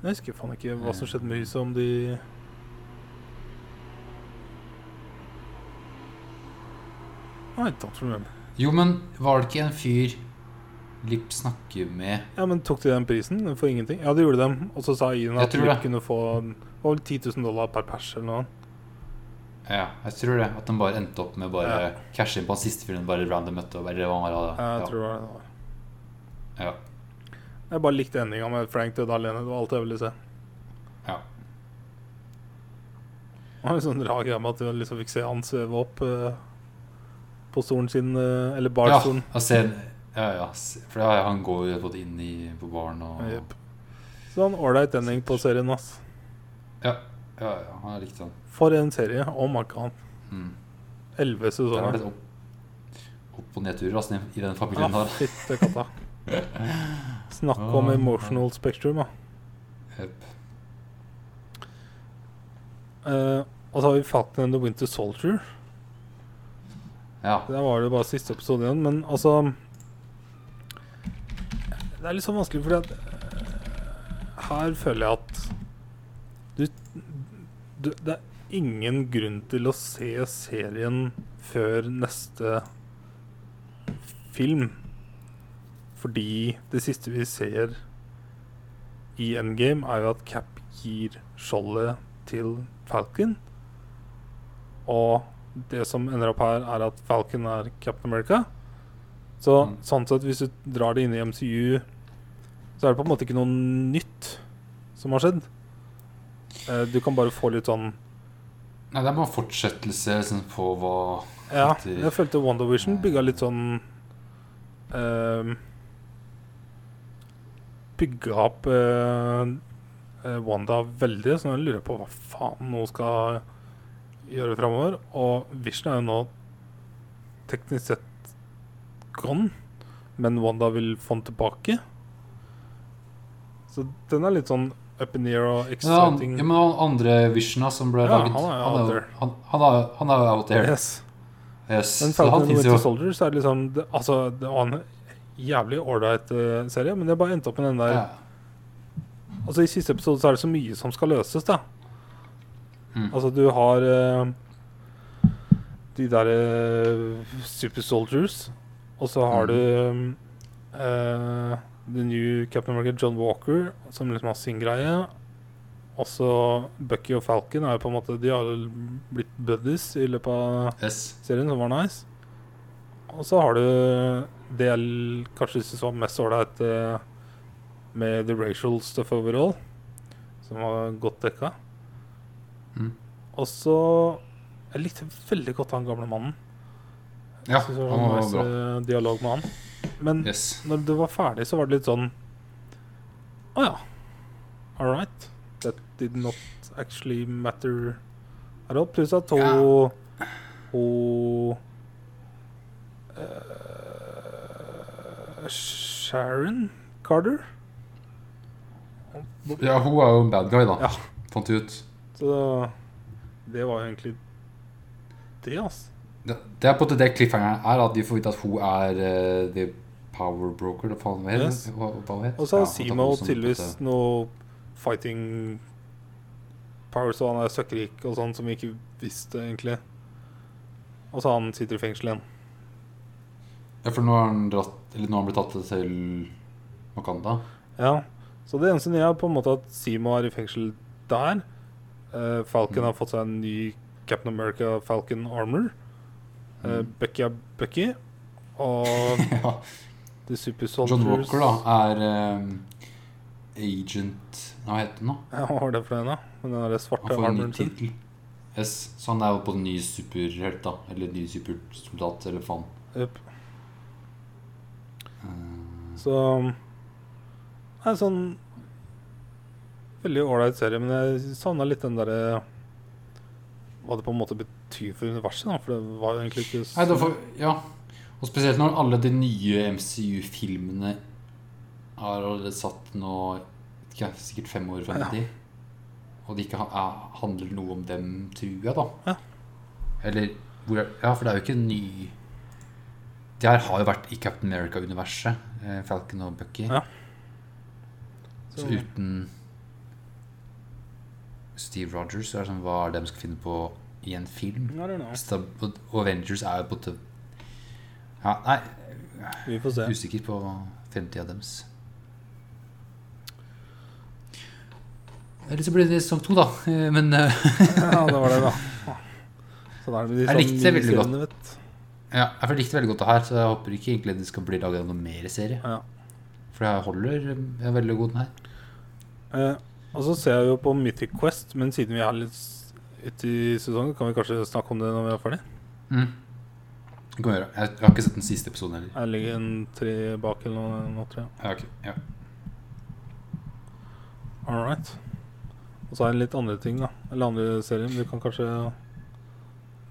S1: Jeg husker faen ikke hva som skjedde med huset, om de Nei, don't remember.
S2: Jo, men var det ikke en fyr Lipp snakker med
S1: Ja, men tok de den prisen for ingenting? Ja, de gjorde dem. Og så sa Ian
S2: Jeg
S1: at
S2: tror
S1: de
S2: det.
S1: kunne få det var vel 10 000 dollar per pers eller noe.
S2: Ja, jeg tror det. At de bare endte opp med bare
S1: Ja.
S2: cashe inn på han siste fyren bare random møtte opp. Eller hva han var,
S1: Jeg
S2: ja.
S1: tror det var det.
S2: Ja.
S1: Jeg bare likte endinga med Frank døde alene. Det var alt jeg ville se.
S2: Ja.
S1: Det var en sånn rar greie med at du liksom fikk se han sveve opp eh, på stolen sin, eh, eller
S2: Ja,
S1: barstolen.
S2: og sen, ja, ja, s- for ja, han går jo både inn i, på baren og
S1: Sånn Jepp. Så han ålreit ending på serien, ass.
S2: Ja. Ja, ja, han er riktig sånn.
S1: For en serie. Oh my god.
S2: Mm.
S1: Elleve
S2: Det har
S1: sesonger.
S2: vært opp, opp- og nedturer altså, i den familien
S1: Ah,
S2: der.
S1: Fytte katta. Snakk om
S2: Ah.
S1: emotional spectrum, da.
S2: Jep.
S1: Eh, og så har vi Falcon and the Winter Soldier.
S2: Ja.
S1: Der var det bare siste episode igjen, men altså Det er litt sånn vanskelig, fordi at eh, Her føler jeg at du, du Det er ingen grunn til å se serien før neste film. Fordi det siste vi ser i Endgame, er jo at Cap gir skjoldet til Falcon. Og det som ender opp her, er at Falcon er Captain America. Så
S2: Mm.
S1: sånn sett, hvis du drar det inn i MCU, så er det på en måte ikke noe nytt som har skjedd. Eh, Du kan bare få litt sånn
S2: Nei, det er bare en fortsettelse liksom, på hva
S1: Ja,
S2: At de-
S1: jeg følte Wonder Vision bygga litt sånn um, Bygga opp eh, eh, Wanda veldig, så jeg lurer på hva faen hun skal gjøre framover. Og Vision er jo nå teknisk sett gone, men Wanda vil få den tilbake. Så den er litt sånn up in the air og
S2: Men han,
S1: exciting.
S2: ja, men han andre Visiona som ble
S1: Ja,
S2: laget
S1: han er jo out
S2: han er jo
S1: there.
S2: han, han er, han er jo out there.
S1: Yes.
S2: Yes.
S1: Men
S2: Så han
S1: Falcon and
S2: finnes
S1: Winter
S2: jo.
S1: Soldier så er det liksom det, Altså, det var en jævlig ålreit eh, serie, men det bare endte opp med den der
S2: Ja.
S1: Altså, i siste episode så er det så mye som skal løses, da.
S2: Mm.
S1: Altså, du har eh, de der eh, Super Soldiers, og så har
S2: Mm.
S1: du eh, The New Captain America, John Walker, som liksom har sin greie. Og så Bucky og Falcon er jo på en måte De har blitt buddies i løpet av
S2: Yes.
S1: serien, som var nice. Og så har du det jeg l- kanskje synes var mest ålreit eh, med the racial stuff overall, som var godt dekka.
S2: Mm.
S1: Og så Jeg likte veldig godt han gamle mannen.
S2: Ja,
S1: Jeg synes det var
S2: han var
S1: nice
S2: bra.
S1: eh, dialog med han. Men
S2: Yes.
S1: når det var ferdig, så var det litt sånn Å ja. All right. That did not actually matter at all. Pluss at hun
S2: Ja.
S1: Hun eh, Sharon Carter.
S2: Ja, hun er jo en bad guy, da.
S1: Ja.
S2: Fant vi ut.
S1: Så det var jo egentlig det, altså.
S2: Det, det er på en måte det cliffhangeren er, at vi får vite at hun er eh, the power broker, eller faen hva heter
S1: Yes.
S2: det? Hva- hva heter det?
S1: Og så
S2: Ja,
S1: har
S2: at det
S1: Simo
S2: er hun som på en måte-
S1: tydeligvis noe fighting powers, og han er søkkrik og sånn, som vi ikke visste egentlig. Og så han sitter i fengsel igjen.
S2: Ja, for nå har han dratt Eller nå har han blitt tatt til Wakanda.
S1: Ja, Så det eneste nye er på en måte at Simo er i fengsel der. Eh, Falcon
S2: Mm.
S1: har fått seg en ny Captain America Falcon Armor. Eh,
S2: Mm.
S1: Bucky er Bucky. Og
S2: ja.
S1: The Super
S2: John
S1: Soldiers
S2: Walker, da, er eh, agent Hva heter han, da?
S1: Ja, hva var det for en, da? Med den der
S2: Han
S1: svarte
S2: får en ny
S1: armoren sin?
S2: tittel. Yes, så han er jo på en ny superhelt, da. Eller ny supersoldat, eller faen.
S1: Jep.
S2: Eh,
S1: Så Det er sånn Veldig ålreit serie, men jeg savna litt den derre Hva det på en måte betyr for universet, da. For det var jo egentlig ikke så-
S2: Nei, da får Ja. Og spesielt når alle de nye MCU-filmene er allerede satt nå vet ikke, jeg, sikkert fem år frem i
S1: Ja.
S2: tid. Og det ikke ha- er- handler noe om dem, tror jeg, da.
S1: Ja.
S2: Eller hvor er, Ja, for det er jo ikke en ny Det her har jo vært i Captain America-universet. eh, Falcon og Bucky.
S1: Ja.
S2: Så
S1: Så-
S2: uten Steve Rogers, så er det sånn, hva er det de skal finne på i en film?
S1: I don't know.
S2: Stab- Og Avengers er jo på tøv ja, Nei,
S1: Vi får se.
S2: usikker på fremtida deres. Eller så blir det som to, da. Eh, Men eh,
S1: Ja, det var det, da. Sånn er det med de
S2: Jeg likte det veldig
S1: miniseriene, vet du.
S2: ja, jeg likte veldig godt det her, så jeg håper ikke egentlig det skal bli laga noen mer serie.
S1: Ja.
S2: For jeg holder eh, jeg er veldig god den her.
S1: Eh, og så ser jeg jo på Mythic Quest, men siden vi er litt s- ute i sesongen, kan vi kanskje snakke om det når vi er ferdig?
S2: Mm. Det kan vi gjøre. Jeg, jeg har ikke sett den siste episoden heller.
S1: Jeg ligger en tre bak eller noe, noe tror jeg.
S2: Ja, ok, ja.
S1: All right. Og så er det litt andre ting, da. Eller andre serier. men Vi kan kanskje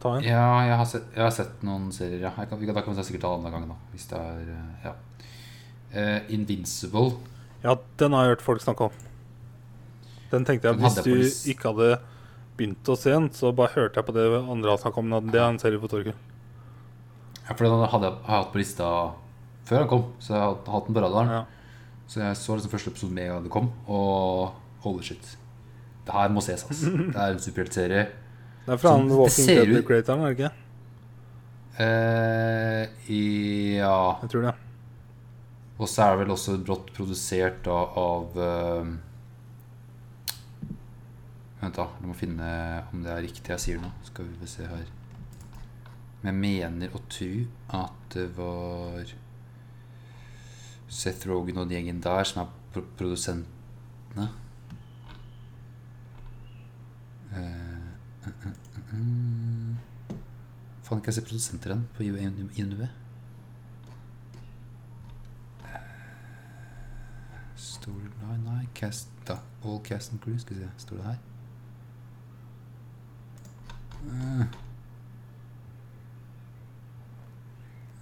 S1: ta en.
S2: Ja, jeg har sett, jeg har sett noen serier, ja. Jeg kan, vi kan, da kan vi sikkert ta den andre gangen, da. Hvis det er eh, Ja. Eh, Invincible.
S1: Ja, den har jeg hørt folk snakke om. Den tenkte jeg at
S2: Den
S1: hvis
S2: hadde jeg på list-
S1: du ikke hadde begynt å se den, så bare hørte jeg på det andre har snakket om. men at Det er en serie på torget.
S2: Ja, for den hadde jeg, har jeg hatt på lista før han kom, så jeg har hatt- hatt den på radaren.
S1: Ja.
S2: Så jeg så liksom første episode med en gang det kom, og holy shit. Det her må ses, ass. Det er en superheltserie.
S1: Det er fra
S2: Så
S1: han
S2: det
S1: Walking
S2: ser ut-
S1: Dead-creatoren, er det ikke?
S2: Eh, i- ja
S1: Jeg tror det.
S2: Og så er det vel også brått produsert da, av eh, Vent, da. Jeg må finne om det er riktig jeg sier nå. Skal vi se her. Men jeg mener å tro at det var Seth Rogan og den gjengen der som er pro produsentene. Eh, eh, eh, eh, eh. Faen, ikke jeg ser produsenter igjen på INUB. Storyline Nei, cast da. All cast and crew, skal vi se. Står det her? Eh.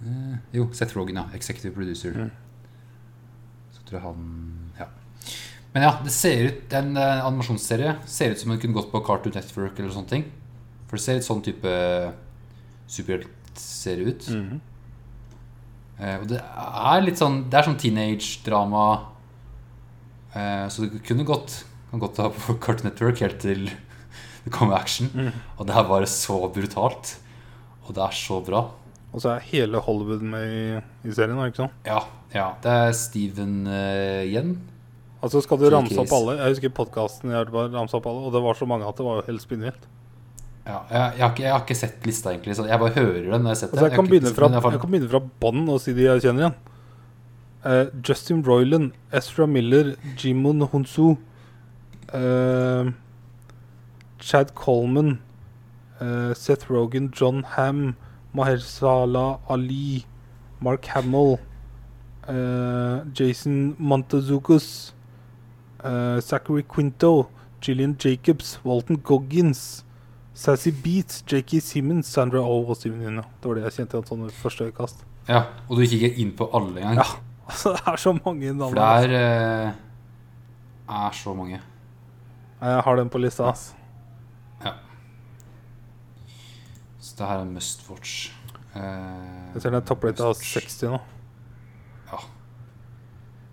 S2: Eh, jo, Seth Rogan, ja. Executive producer.
S1: Mm.
S2: Så tror jeg han Ja. Men ja, det ser ut det er en eh, animasjonsserie ser ut som den kunne gått på Cartoon Network eller sånne ting. For det ser ut sånn type superheltserie ut.
S1: Mhm.
S2: Eh, og det er litt sånn Det er sånn teenage-drama. Eh, så det kunne gått kan godt ha på Cartoon Network helt til det kom action.
S1: Mhm.
S2: Og det er bare så brutalt. Og det er så bra.
S1: Og så er hele Hollywood med i, i serien, er det ikke sånn?
S2: Ja. ja det er Steven eh, igjen.
S1: Altså Skal du
S2: Jim
S1: ramse opp
S2: Cleese.
S1: alle? Jeg husker podkasten jeg hørte på, ramse opp alle, og det var så mange at det var jo helt spinnvilt.
S2: Ja, jeg, jeg, har ikke, jeg har ikke sett lista, egentlig. Så jeg bare hører den. når Jeg, har sett
S1: Altså,
S2: det.
S1: jeg, kan
S2: har ikke-
S1: begynne fra,
S2: men jeg har
S1: jeg
S2: fått-
S1: kan begynne fra bånn og si de jeg kjenner igjen. Eh, Justin Roiland, Ezra Miller, Jimon Hunsu, eh, Chad Coleman, eh, Seth Rogan, John Ham, Mahershala Ali, Mark Hamill, eh, Jason Montezucus, eh, Zachary Quinto, Gillian Jacobs, Walton Goggins Sassy Beats, J.K. Simmons, Sandra Oh og Steven Nino. Det var det jeg kjente igjen sånn ved første øyekast.
S2: ja, og du kikker inn på alle engang.
S1: Ja, altså det er så mange navn.
S2: for det er eh, er så mange.
S1: ass. Jeg har den på lista, ass.
S2: Så det her er must watch. Eh,
S1: Jeg ser den er topplista av
S2: must watch.
S1: 60 nå.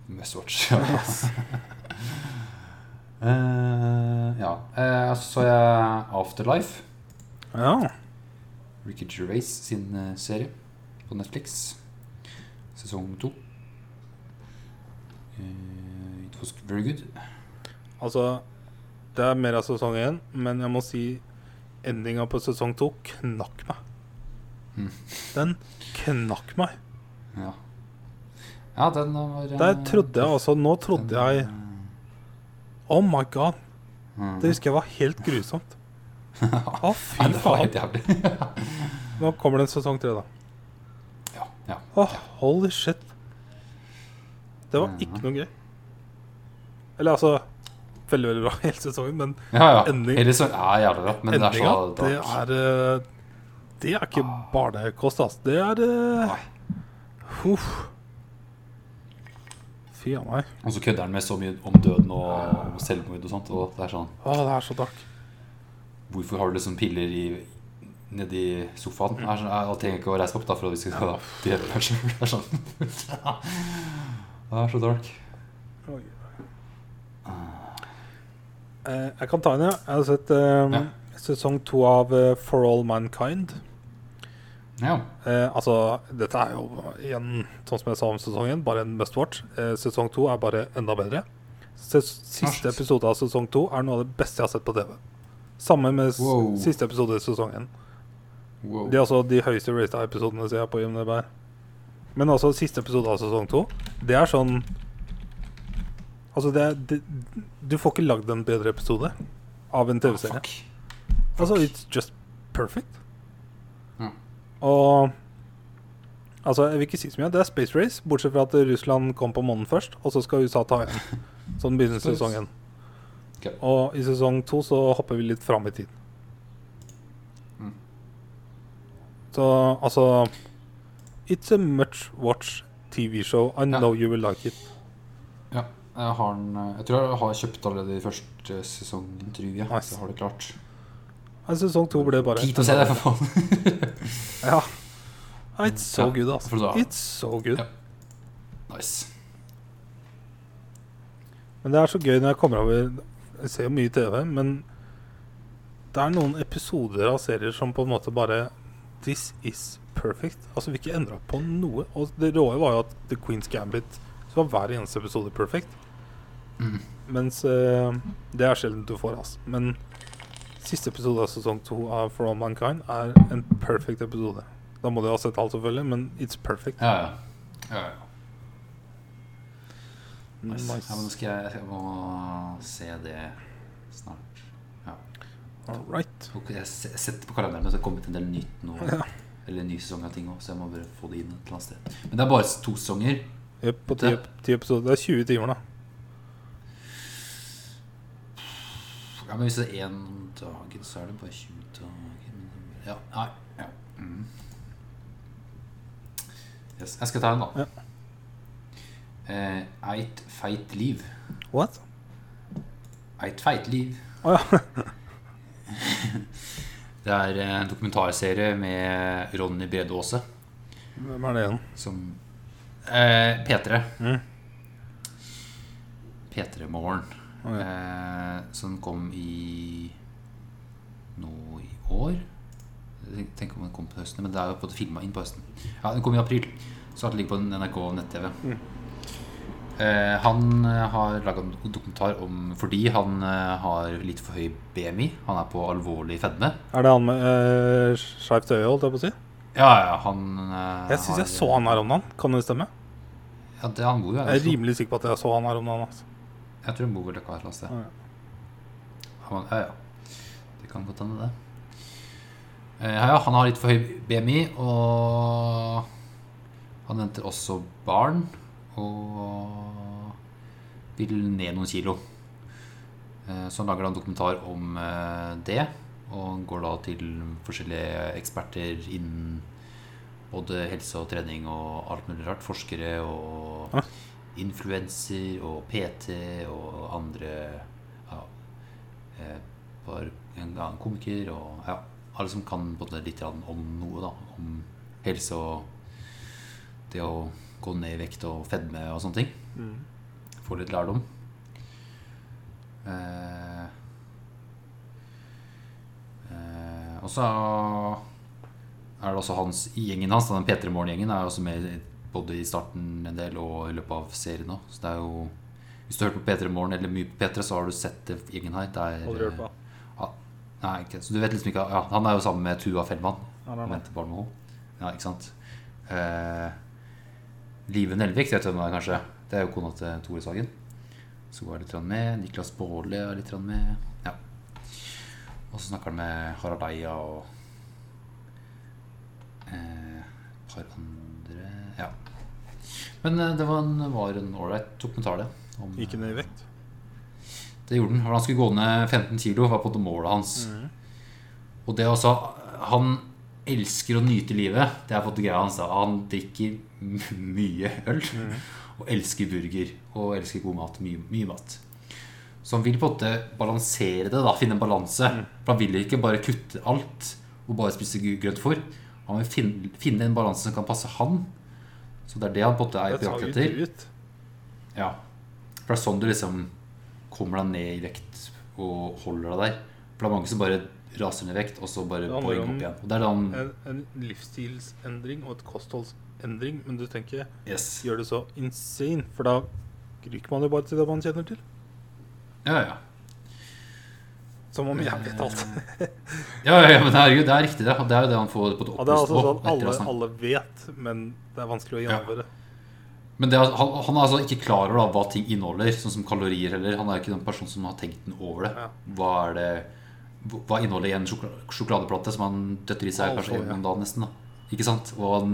S2: Must watch. Ja. Eh, ja. Eh, så så jeg Afterlife,
S1: Ja.
S2: Ricky Gervais sin eh, serie på Netflix. Sesong to. Eh, it was very good.
S1: Altså, det er mer av sesong én, men jeg må si endinga på sesong to knakk meg.
S2: Mm.
S1: Den knakk meg.
S2: Ja, ja den var eh,
S1: Der trodde jeg altså Nå trodde jeg Oh my god.
S2: Mm.
S1: Det husker jeg var helt grusomt. Å,
S2: Ja,
S1: fy
S2: det var
S1: faen.
S2: helt jævlig.
S1: Nå kommer det en sesong tre, da.
S2: ja, ja.
S1: Åh, holy shit. Det var
S2: Ja.
S1: ikke noe gøy. Eller altså Veldig, veldig bra hele sesongen, men
S2: ja, ja.
S1: Ending-
S2: Hele sesongen er jævlig bra, men det er
S1: endinga,
S2: så Ah.
S1: det er eh, Det er ikke barnekost, ass. Det er eh,
S2: Nei.
S1: Huff. Fy a meg.
S2: Og så kødder han med så mye om døden og om selvmord og sånt. Og det er sånn
S1: Å, det er så dark.
S2: Hvorfor har du liksom piller i, nedi sofaen? Det er sånn, jeg trenger ikke å reise meg opp da for at vi skal da, drepe meg selv. Det er sånn Det er så dark.
S1: Oi. Eh, jeg kan ta en, ja. Jeg har sett eh,
S2: Ja.
S1: sesong to av eh, For All Mankind.
S2: Ja.
S1: Eh, altså, dette er jo igjen, sånn som jeg sa om sesong 1, bare en must watch. Eh, sesong 2 er bare enda bedre. Ses siste
S2: Snart.
S1: episode av sesong 2 er noe av det beste jeg har sett på TV. Samme med s
S2: Wow.
S1: siste episode i sesong 1.
S2: Wow.
S1: Det er altså de høyeste rata episodene ser jeg på IMDb. Men altså, siste episode av sesong 2, det er sånn Altså, det er det, Du får ikke lagd en bedre episode av en TV-serie.
S2: Fuck.
S1: Altså, it's just perfect.
S2: Ja.
S1: Og Altså, jeg vil ikke si så mye. Det er space race, bortsett fra at Russland kom på månen først, og så skal USA ta igjen. Sånn begynner
S2: Space.
S1: sesongen.
S2: Ok.
S1: Og i sesong to så hopper vi litt fram i tid.
S2: Mm.
S1: Så altså It's a much watch TV-show. I
S2: Ja.
S1: know you will like it.
S2: Ja, jeg har den eh, Jeg tror jeg har kjøpt allerede i første sesongen, tror jeg.
S1: Nice.
S2: Så jeg har det klart.
S1: Nei, sesong to ble bare
S2: Tid til å se det, for faen.
S1: Ja. Nei, It's so
S2: Ja,
S1: good, altså.
S2: for da-
S1: It's so good.
S2: Ja. nice.
S1: Men det er så gøy når jeg kommer over Jeg ser jo mye TV, men det er noen episoder av serier som på en måte bare This is perfect. Altså, vi ikke endra på noe. Og det råe var jo at The Queen's Gambit Så var hver eneste episode perfekt.
S2: Mm.
S1: Mens eh, Det er sjelden du får, altså. Men siste episode av sesong to av For All Mankind er en perfect episode. Da må du ha sett alt, selvfølgelig, men it's perfect.
S2: Ja, ja. ja, ja. Nice. Ja, men nå
S1: Nice.
S2: skal jeg, jeg må se det snart. Ja.
S1: All right.
S2: Ok, Jeg se- jeg setter på kalenderen, så det er kommet en del nytt nå.
S1: Ja.
S2: Eller en ny sesong av ting også, så jeg må bare få det inn et eller annet sted. Men det er bare to sesonger.
S1: Jep, på ti, ti episoder. Det er 20 timer, da.
S2: Ja, men hvis det er én om dagen, så er det bare 20 dager. men- Ja, nei, ja. Mm. Yes. Jeg skal ta en, da.
S1: Ja.
S2: Eh, Eit feit liv.
S1: What?
S2: Eit feit liv.
S1: Å ja.
S2: Det er en dokumentarserie med Ronny Brede Aase.
S1: Hvem er det igjen?
S2: Som eh, P3.
S1: Mm.
S2: P3-morgen.
S1: Å, ja.
S2: eh, som kom i nå i år. Jeg tenker om den kom på høsten, men det er jo på en måte filma inn på høsten. Ja, Den kom i april, så at den ligger på NRK nett-TV.
S1: Mm.
S2: Eh, han eh, har laga en dokumentar om fordi han eh, har litt for høy BMI. Han er på alvorlig fedme.
S1: Er det han med uh, skeivt øye, holdt jeg på å si?
S2: Ja, ja, han eh,
S1: Jeg syns jeg så han her om dagen. Kan det stemme?
S2: Ja, det, han bor jo her.
S1: Jeg er
S2: i Oslo.
S1: rimelig sikker på at jeg så han her om dagen. Altså.
S2: Jeg tror hun bor vel et eller annet sted.
S1: Ah, ja.
S2: Han, ja, ja. Det kan godt hende, det. Eh, ja, ja, han har litt for høy BMI, og han venter også barn. Og vil ned noen kilo. Eh, Så han lager da en dokumentar om eh, det. Og han går da til forskjellige eksperter innen både helse og trening og alt mulig rart. Forskere og
S1: Ja.
S2: influenser og PT og andre ja, eh, var en annen komiker og ja, alle som kan både litt grann om noe, da. Om helse og det å gå ned i vekt og fedme og sånne ting.
S1: Mm.
S2: Få litt lærdom. Eh, eh, og så er det også hans i gjengen hans, da, den P3 Morgen-gjengen, er også med i- både i starten en del og i løpet av serien òg. Så det er jo Hvis du har hørt på P3 Morgen eller mye på P3, så har du sett det gjengen her. Det er,
S1: Aldri hørt på.
S2: Nei, ikke. Så du vet liksom ikke ja, Han er jo sammen med Tuva Fellmann.
S1: Ja, det
S2: Han
S1: er det.
S2: venter barn med henne. Ja, ikke sant. Eh, Live Nelvik, vet du hvem det er, kanskje? Det er jo kona til Tore Sagen. Så hun er litt grann med. Niklas Baarli er litt grann med. Ja. Og så snakker han med Harald Eia og eh, et par andre Ja. Men eh, det var en, var en ålreit dokumentar, det. Om,
S1: Gikk ned i vekt.
S2: det gjorde han. for Han skulle gå ned 15 kilo, var på en måte målet hans. Og det er også Han elsker å nyte livet. Det er på en måte greia hans. da. Han drikker m- mye øl. Og elsker burger. Og elsker god mat. Mye, mye mat. Så han vil på en måte balansere det. da, Finne en balanse. For han vil ikke bare kutte alt og bare spise gr- grønt fôr. Han vil finne, finne en balanse som kan passe han. Så det er det han på en måte er
S1: Det
S2: på
S1: sa
S2: jakt
S1: jo
S2: etter.
S1: du ut.
S2: Ja. For det er sånn du liksom kommer deg ned i vekt og holder deg der. For det er mange som bare raser ned i vekt, og så bare
S1: Det handler
S2: poeng
S1: om-
S2: opp igjen. Og det er da han
S1: En, en livsstilsendring og et kostholdsendring, men du tenker
S2: Yes.
S1: gjør det så insane, for da ryker man jo bare til det man kjenner til.
S2: Ja, ja.
S1: Som om jeg vet alt.
S2: Ja, ja, ja, men herregud, det er riktig, det. Og det er jo det han får på et
S1: Ja, det er
S2: opplyst
S1: altså
S2: nivå.
S1: sånn at
S2: etter å
S1: alle,
S2: ha snakket-
S1: alle vet, men det er vanskelig å
S2: Ja.
S1: gjennomføre.
S2: Men det, er- han, han er altså ikke klar over da, hva ting inneholder, sånn som kalorier heller. Han er jo ikke den personen som har tenkt den over det.
S1: Ja.
S2: Hva er det Hva inneholder en sjokla- sjokoladeplate som han døtter i seg
S1: Alt
S2: kanskje
S1: for,
S2: en
S1: ja.
S2: om dagen, nesten? da Ikke sant? Og han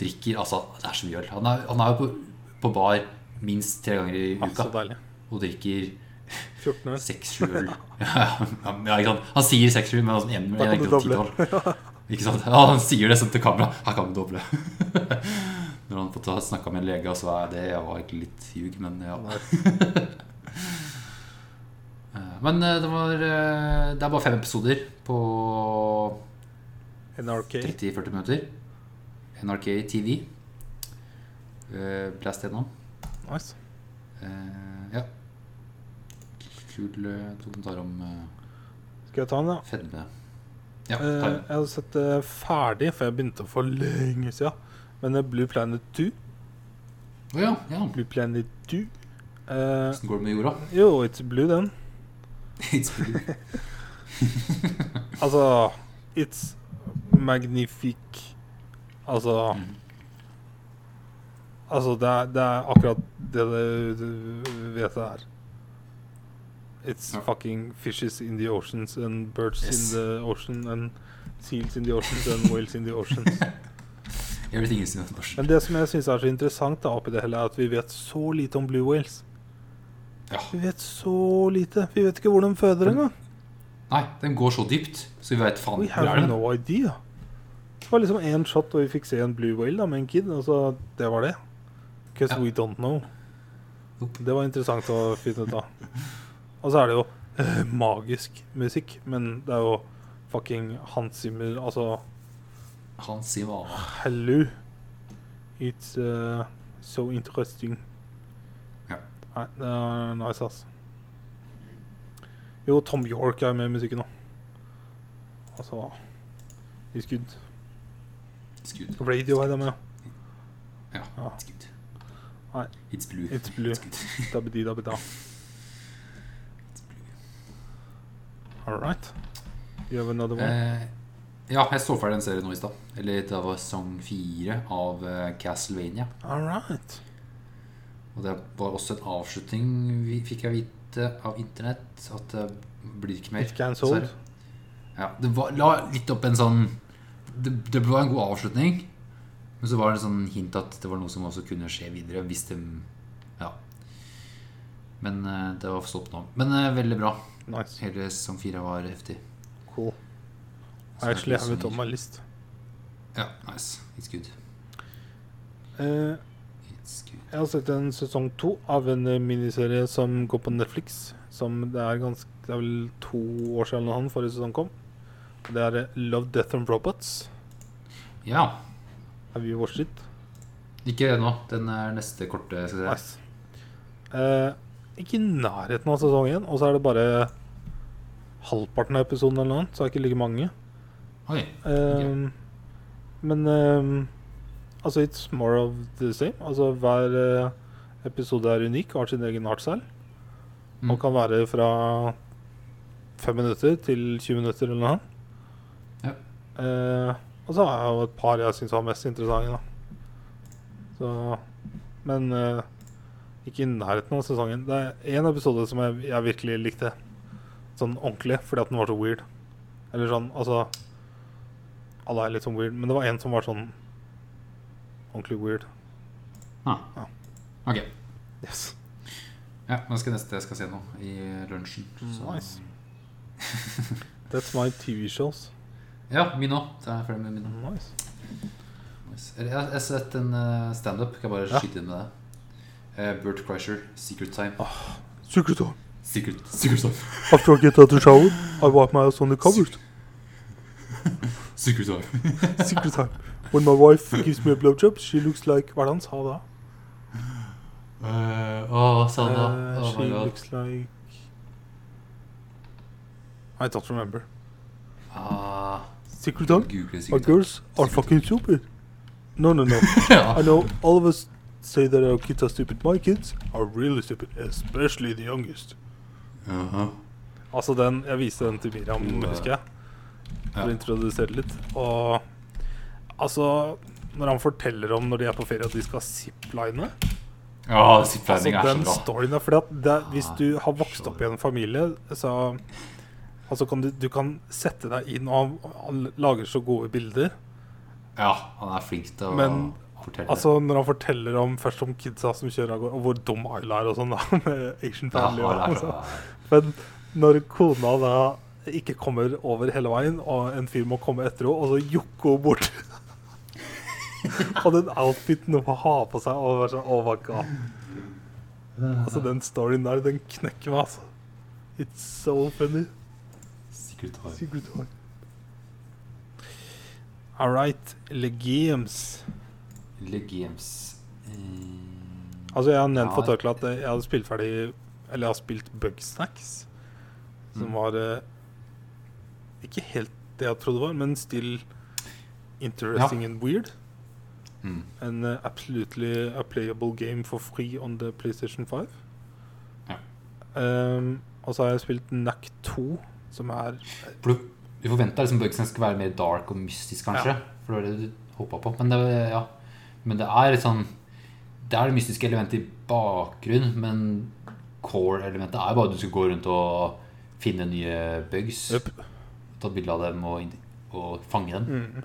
S2: drikker Altså, det er så mye øl. Han er, han er jo på, på bar minst tre ganger i
S1: Ja,
S2: uka
S1: så deilig.
S2: og drikker
S1: 14 år.
S2: 6-7-0. Ja, ja, ikke sant? Han sier 6-7, men altså, en,
S1: Da kan
S2: jeg
S1: du
S2: tenker sånn 10-12. Ikke sant? Ja, han sier det sånn til kamera. Her kan vi doble. Når han fått snakka med en lege, så er det jeg var egentlig litt ljug, men ja.
S1: Nei.
S2: Eh, Men eh, det, var, eh, det er bare fem episoder på
S1: NRK.
S2: 30-40 minutter. NRK TV. Eh, Blast gjennom.
S1: Nice.
S2: Eh, Ja. Kul eh, dokumentar om eh,
S1: Skal jeg ta den, da?
S2: fedme. Ja,
S1: Eh,
S2: ta den.
S1: jeg hadde sett det ferdig, for jeg begynte for lenge siden. Men eh, Blue Planet 2
S2: Å ja, ja.
S1: Blue Planet 2 eh,
S2: Hvordan går det med jorda?
S1: Jo, it's blue, den.
S2: It's blue.
S1: Altså It's magnific Altså
S2: Mhm.
S1: Altså, det er, det er akkurat det det- du vet det er. It's
S2: Ja.
S1: fucking fishes in the oceans and birds
S2: Yes.
S1: in the ocean and seals in the oceans and whales in the oceans.
S2: Everything is in the ocean.
S1: Men det som jeg syns er så interessant, da, oppi det hele, er at vi vet så lite om blue whales.
S2: Ja.
S1: Vi vet så lite. Vi vet ikke hvor de føder engang.
S2: Nei, den går så dypt, så vi veit faen
S1: We
S2: ikke hvor
S1: have
S2: er den.
S1: no idea. Det var liksom én shot, og vi fikk se en blue whale da, med en kid. Og så det var det. Because
S2: Ja.
S1: we don't know.
S2: Nope.
S1: Det var interessant å finne ut av. Og så er det jo eh, magisk musikk, men det er jo fucking Hans Zimmer Altså,
S2: Han sier hva
S1: hello. It's eh, so interesting.
S2: Ja.
S1: Nei, det er nice, ass. Jo, Tom York er med i musikken nå. Altså I skudd.
S2: Skudd.
S1: Radiohead er med, ja.
S2: Ja,
S1: Ja.
S2: skudd.
S1: Nei.
S2: It's blue.
S1: It's blue.
S2: good.
S1: Dabidi dabida.
S2: It's blue.
S1: All right. You have another one?
S2: Eh, ja, jeg så ferdig den serien nå i stad. Eller det var sesong fire av eh, Castlevania.
S1: All right.
S2: Og det var også en avslutning, vi, fikk jeg vite av internett, at det blir ikke mer.
S1: It's cancelled.
S2: Dessverre. Ja, det var, la litt opp en sånn det, det var en god avslutning, men så var det en sånn hint at det var noe som også kunne skje videre hvis de Ja. Men eh, det var stopp nå. Men eh, veldig bra.
S1: Nice.
S2: Hele sesong fire var heftig.
S1: Cool.
S2: Så
S1: I actually
S2: det er
S1: have it
S2: sånn-
S1: on my list.
S2: Ja, nice. It's good.
S1: Eh,
S2: It's good.
S1: jeg har sett en sesong to av en eh, miniserie som går på Netflix. Som det er ganske Det er vel to år siden han forrige sesong kom. Det er eh, Love, Death and Robots.
S2: Ja.
S1: Have you watched it?
S2: Ikke nå. Den er neste korte. Skal jeg si.
S1: Nice. Eh, ikke i nærheten av sesong én, og så er det bare halvparten av episoden eller noe annet, så det er ikke like mange.
S2: Oi.
S1: Ehm, Men ehm, altså, it's more of the same. Altså, hver eh, episode er unik og har sin egen artstyle.
S2: Mm.
S1: Og kan være fra fem minutter til 20 minutter eller noe.
S2: Ja.
S1: Eh, og så har jeg jo et par jeg syns var mest interessante, da. Så Men eh, ikke i nærheten av sesongen. Det er én episode som jeg, jeg virkelig likte sånn ordentlig, fordi at den var så weird. Eller sånn, altså Alle er litt sånn weird, men det var en som var sånn ordentlig weird.
S2: Ah. Ok.
S1: Yes.
S2: Ja, men skal neste jeg skal se nå, i lunsjen.
S1: Nice. That's my TV shows.
S2: Ja, min òg. Jeg er ferdig med min nå.
S1: Nice.
S2: Nice. Jeg jeg har sett en eh, standup. Kan jeg bare
S1: Ja.
S2: skyte inn med det? Eh, Bert Kreischer, 'Secret Time'.
S1: Ah. Secret time.
S2: Secret, secret Time.
S1: After I get out of shower, I wipe my ass on the covers.
S2: Secret Time.
S1: Secret time. When my wife gives me a blowjob, she looks like Hva er det han sa da?
S2: Eh, Åh, sa han da.
S1: Eh,
S2: Oh
S1: she
S2: my god.
S1: looks like I don't remember.
S2: Ah,
S1: Secret time?
S2: Google
S1: Our
S2: Secret Time.
S1: girls are fucking stupid. No, no, no. I
S2: Ja.
S1: know all of us say that our kids are stupid. My kids are really stupid, especially the youngest.
S2: Aha.
S1: Altså den, Jeg viste den til Miriam,
S2: Mm.
S1: husker jeg. For å
S2: Ja.
S1: introdusere litt. Og altså Når han forteller om når de er på ferie at de skal zipline
S2: Ja, zipline
S1: altså,
S2: er
S1: Den
S2: så bra.
S1: storyen der. For at det, hvis
S2: Ja,
S1: du har vokst opp i en familie, så Altså kan du, du kan sette deg inn, og han- han lager så gode bilder.
S2: Ja, han er flink til å
S1: Men
S2: forteller.
S1: Altså Når han forteller om først om kidsa som kjører av gårde, og hvor dum Ayla er og sånn, da, med Asian
S2: Ja,
S1: Family og
S2: han er
S1: og
S2: så-
S1: sånn. Men når kona da ikke kommer over hele veien, og en fyr må komme etter henne, og så jokker hun bort Og den outfiten hun har på seg, og bare sånn Oh my god. Altså, den storyen der, den knekker meg, altså. It's so funny.
S2: Secret Heart.
S1: Secret War. All right, legiums.
S2: Legames Eh,
S1: Altså, jeg har nevnt for
S2: Ja.
S1: Tørkle at jeg hadde spilt ferdig Eller jeg har spilt Bugsnacks, som
S2: Mm.
S1: var eh, ikke helt det jeg trodde det var, men still interesting and weird.
S2: mm.
S1: An uh, absolutely a playable game for free on the PlayStation 5.
S2: Ja.
S1: Um, og så har jeg spilt NAC 2, som er
S2: For du, du forventa liksom Bugsnax skulle være mer dark og mystisk, kanskje. For det var det du håpa på. Men det, ja. men det er litt sånn Det er det mystiske elementet i bakgrunn, men core-elementet er bare at du skal gå rundt og finne nye bugs,
S1: Jøp.
S2: ta et bilde av dem og, id- og fange dem.
S1: Mm.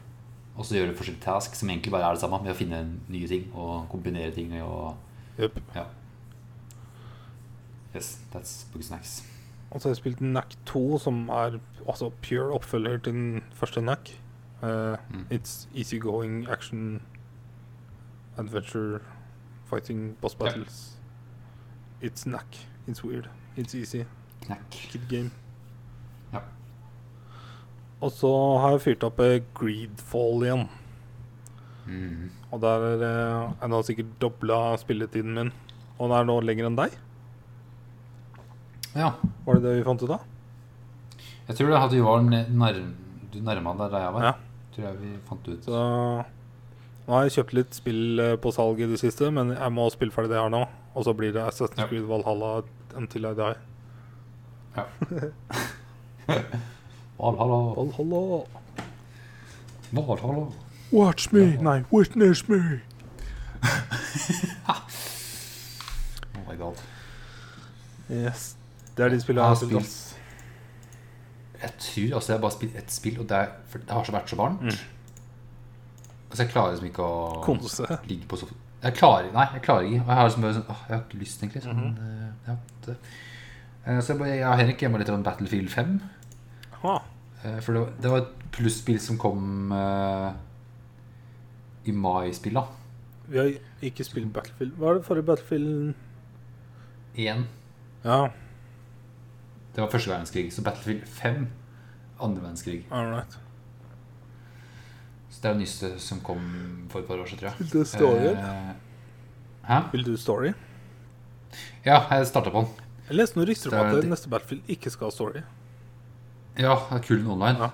S2: Og så gjøre forskjellige tasks som egentlig bare er det samme, med å finne nye ting og kombinere ting. og
S1: Jøp.
S2: ja. Yes, that's Bugsnax.
S1: Og så har jeg spilt NAC 2, som er altså pure oppfølger til den første NAC. Eh,
S2: Mm.
S1: It's easygoing action adventure fighting boss
S2: Ja.
S1: battles. It's NAC. It's weird. It's easy.
S2: Knack.
S1: Kid game.
S2: Ja.
S1: Og så har jeg fyrt opp eh, Greedfall igjen.
S2: Mm.
S1: Og der eh, er nå sikkert dobla spilletiden min. Og den er nå lenger enn deg.
S2: Ja.
S1: Var det det vi fant ut av?
S2: Jeg tror det at du var ne- nærm, Du nærma deg der jeg var.
S1: Ja.
S2: Tror jeg vi fant ut.
S1: Så nå har jeg kjøpt litt spill eh, på salg i det siste, men jeg må spille ferdig det jeg har nå. Og så blir det Assassin's
S2: Ja.
S1: Creed Valhalla until I die.
S2: Ja. Valhalla,
S1: Valhalla,
S2: Valhalla.
S1: watch me! Nei, witness me!
S2: Oh my god.
S1: Yes. Det er de spillene
S2: Jeg
S1: jeg
S2: har
S1: har spilt. ass.
S2: Jeg tror altså jeg har bare spilt ett spill, og det, er, for det har så vært så varmt. Altså jeg klarer liksom ikke å
S1: Konse.
S2: ligge på sofaen. Jeg klarer, nei, jeg klarer ikke. Og jeg har liksom bare sånn, åh, jeg har ikke lyst, egentlig. Sånn, eh, ja, det. Eh, Så jeg, bare, jeg og Henrik hjemme litt om Battlefield 5.
S1: Ha.
S2: Eh, For det var, det var et plusspill som kom eh, i mai-spill, da.
S1: Vi har ikke spilt Battlefield. Hva er det forrige Battlefield
S2: Igjen.
S1: Ja,
S2: Det var første verdenskrig. Så Battlefield 5, andre verdenskrig.
S1: all right.
S2: Så det er det nyeste som kom for et par år siden, tror jeg.
S1: Vil du story?
S2: Eh, Hæ?
S1: Vil du story?
S2: Ja, jeg starta på den.
S1: Jeg leste noen rykter om
S2: Det er
S1: at det
S2: de-
S1: neste Battlefield ikke skal ha story.
S2: Ja, det er kul online.
S1: Ja.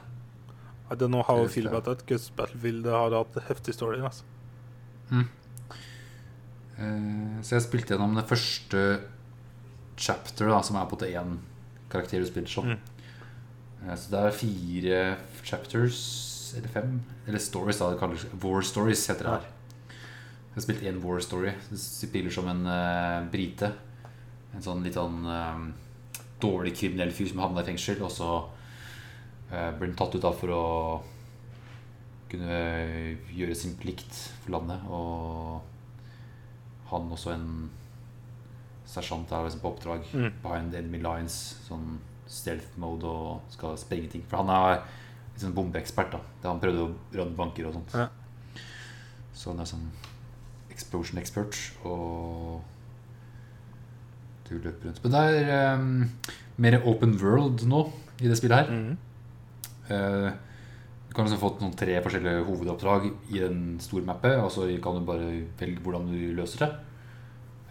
S1: I don't know how I
S2: Det
S1: feel
S2: er-
S1: about that, because Battlefield har hatt heftig story. Altså.
S2: Eh, så jeg spilte gjennom det første chapter, da, som er på en måte én karakter du spiller som.
S1: Mm.
S2: Eh, så det er fire chapters, eller fem, eller stories, da det kalles. War stories heter det her. Jeg har spilt én war story. Du spiller som en eh, brite. En sånn litt sånn eh, dårlig kriminell fyr som havna i fengsel, og så eh, blir han tatt ut da for å kunne eh, gjøre sin plikt for landet. Og han også en sersjant er liksom på oppdrag
S1: Mm.
S2: behind enemy lines, sånn stealth mode og skal sprenge ting. For han er litt sånn bombeekspert, da. Det han prøvde å rane banker og sånt.
S1: Ja.
S2: Så han er sånn explosion expert og du løper rundt. Men det er ehm, mer open world nå i det spillet her.
S1: Mhm.
S2: Eh, Du kan liksom få noen tre forskjellige hovedoppdrag i den store mappet, og så kan du bare velge hvordan du løser det.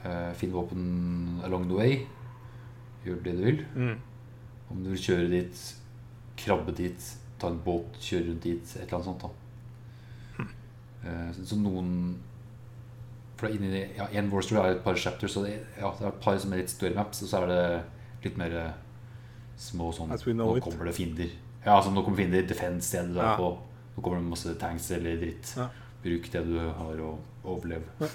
S2: Eh, Finn våpen along the way. Gjør det du vil.
S1: Mhm.
S2: Om du vil kjøre dit, krabbe dit, ta en båt, kjøre rundt dit, et eller annet sånt. da. Eh, så- Så noen For det er inni ja, en War Story er et par chapters, så det, ja, det er et par som er litt større maps, og så er det litt mer eh, små sånn
S1: As we know
S2: Nå
S1: it.
S2: kommer det fiender. Ja, altså nå kommer fiender, defense stedet du er
S1: Ja.
S2: på. Nå kommer det masse tanks eller dritt.
S1: Ja.
S2: Bruk det du har, og overlev.
S1: Ja.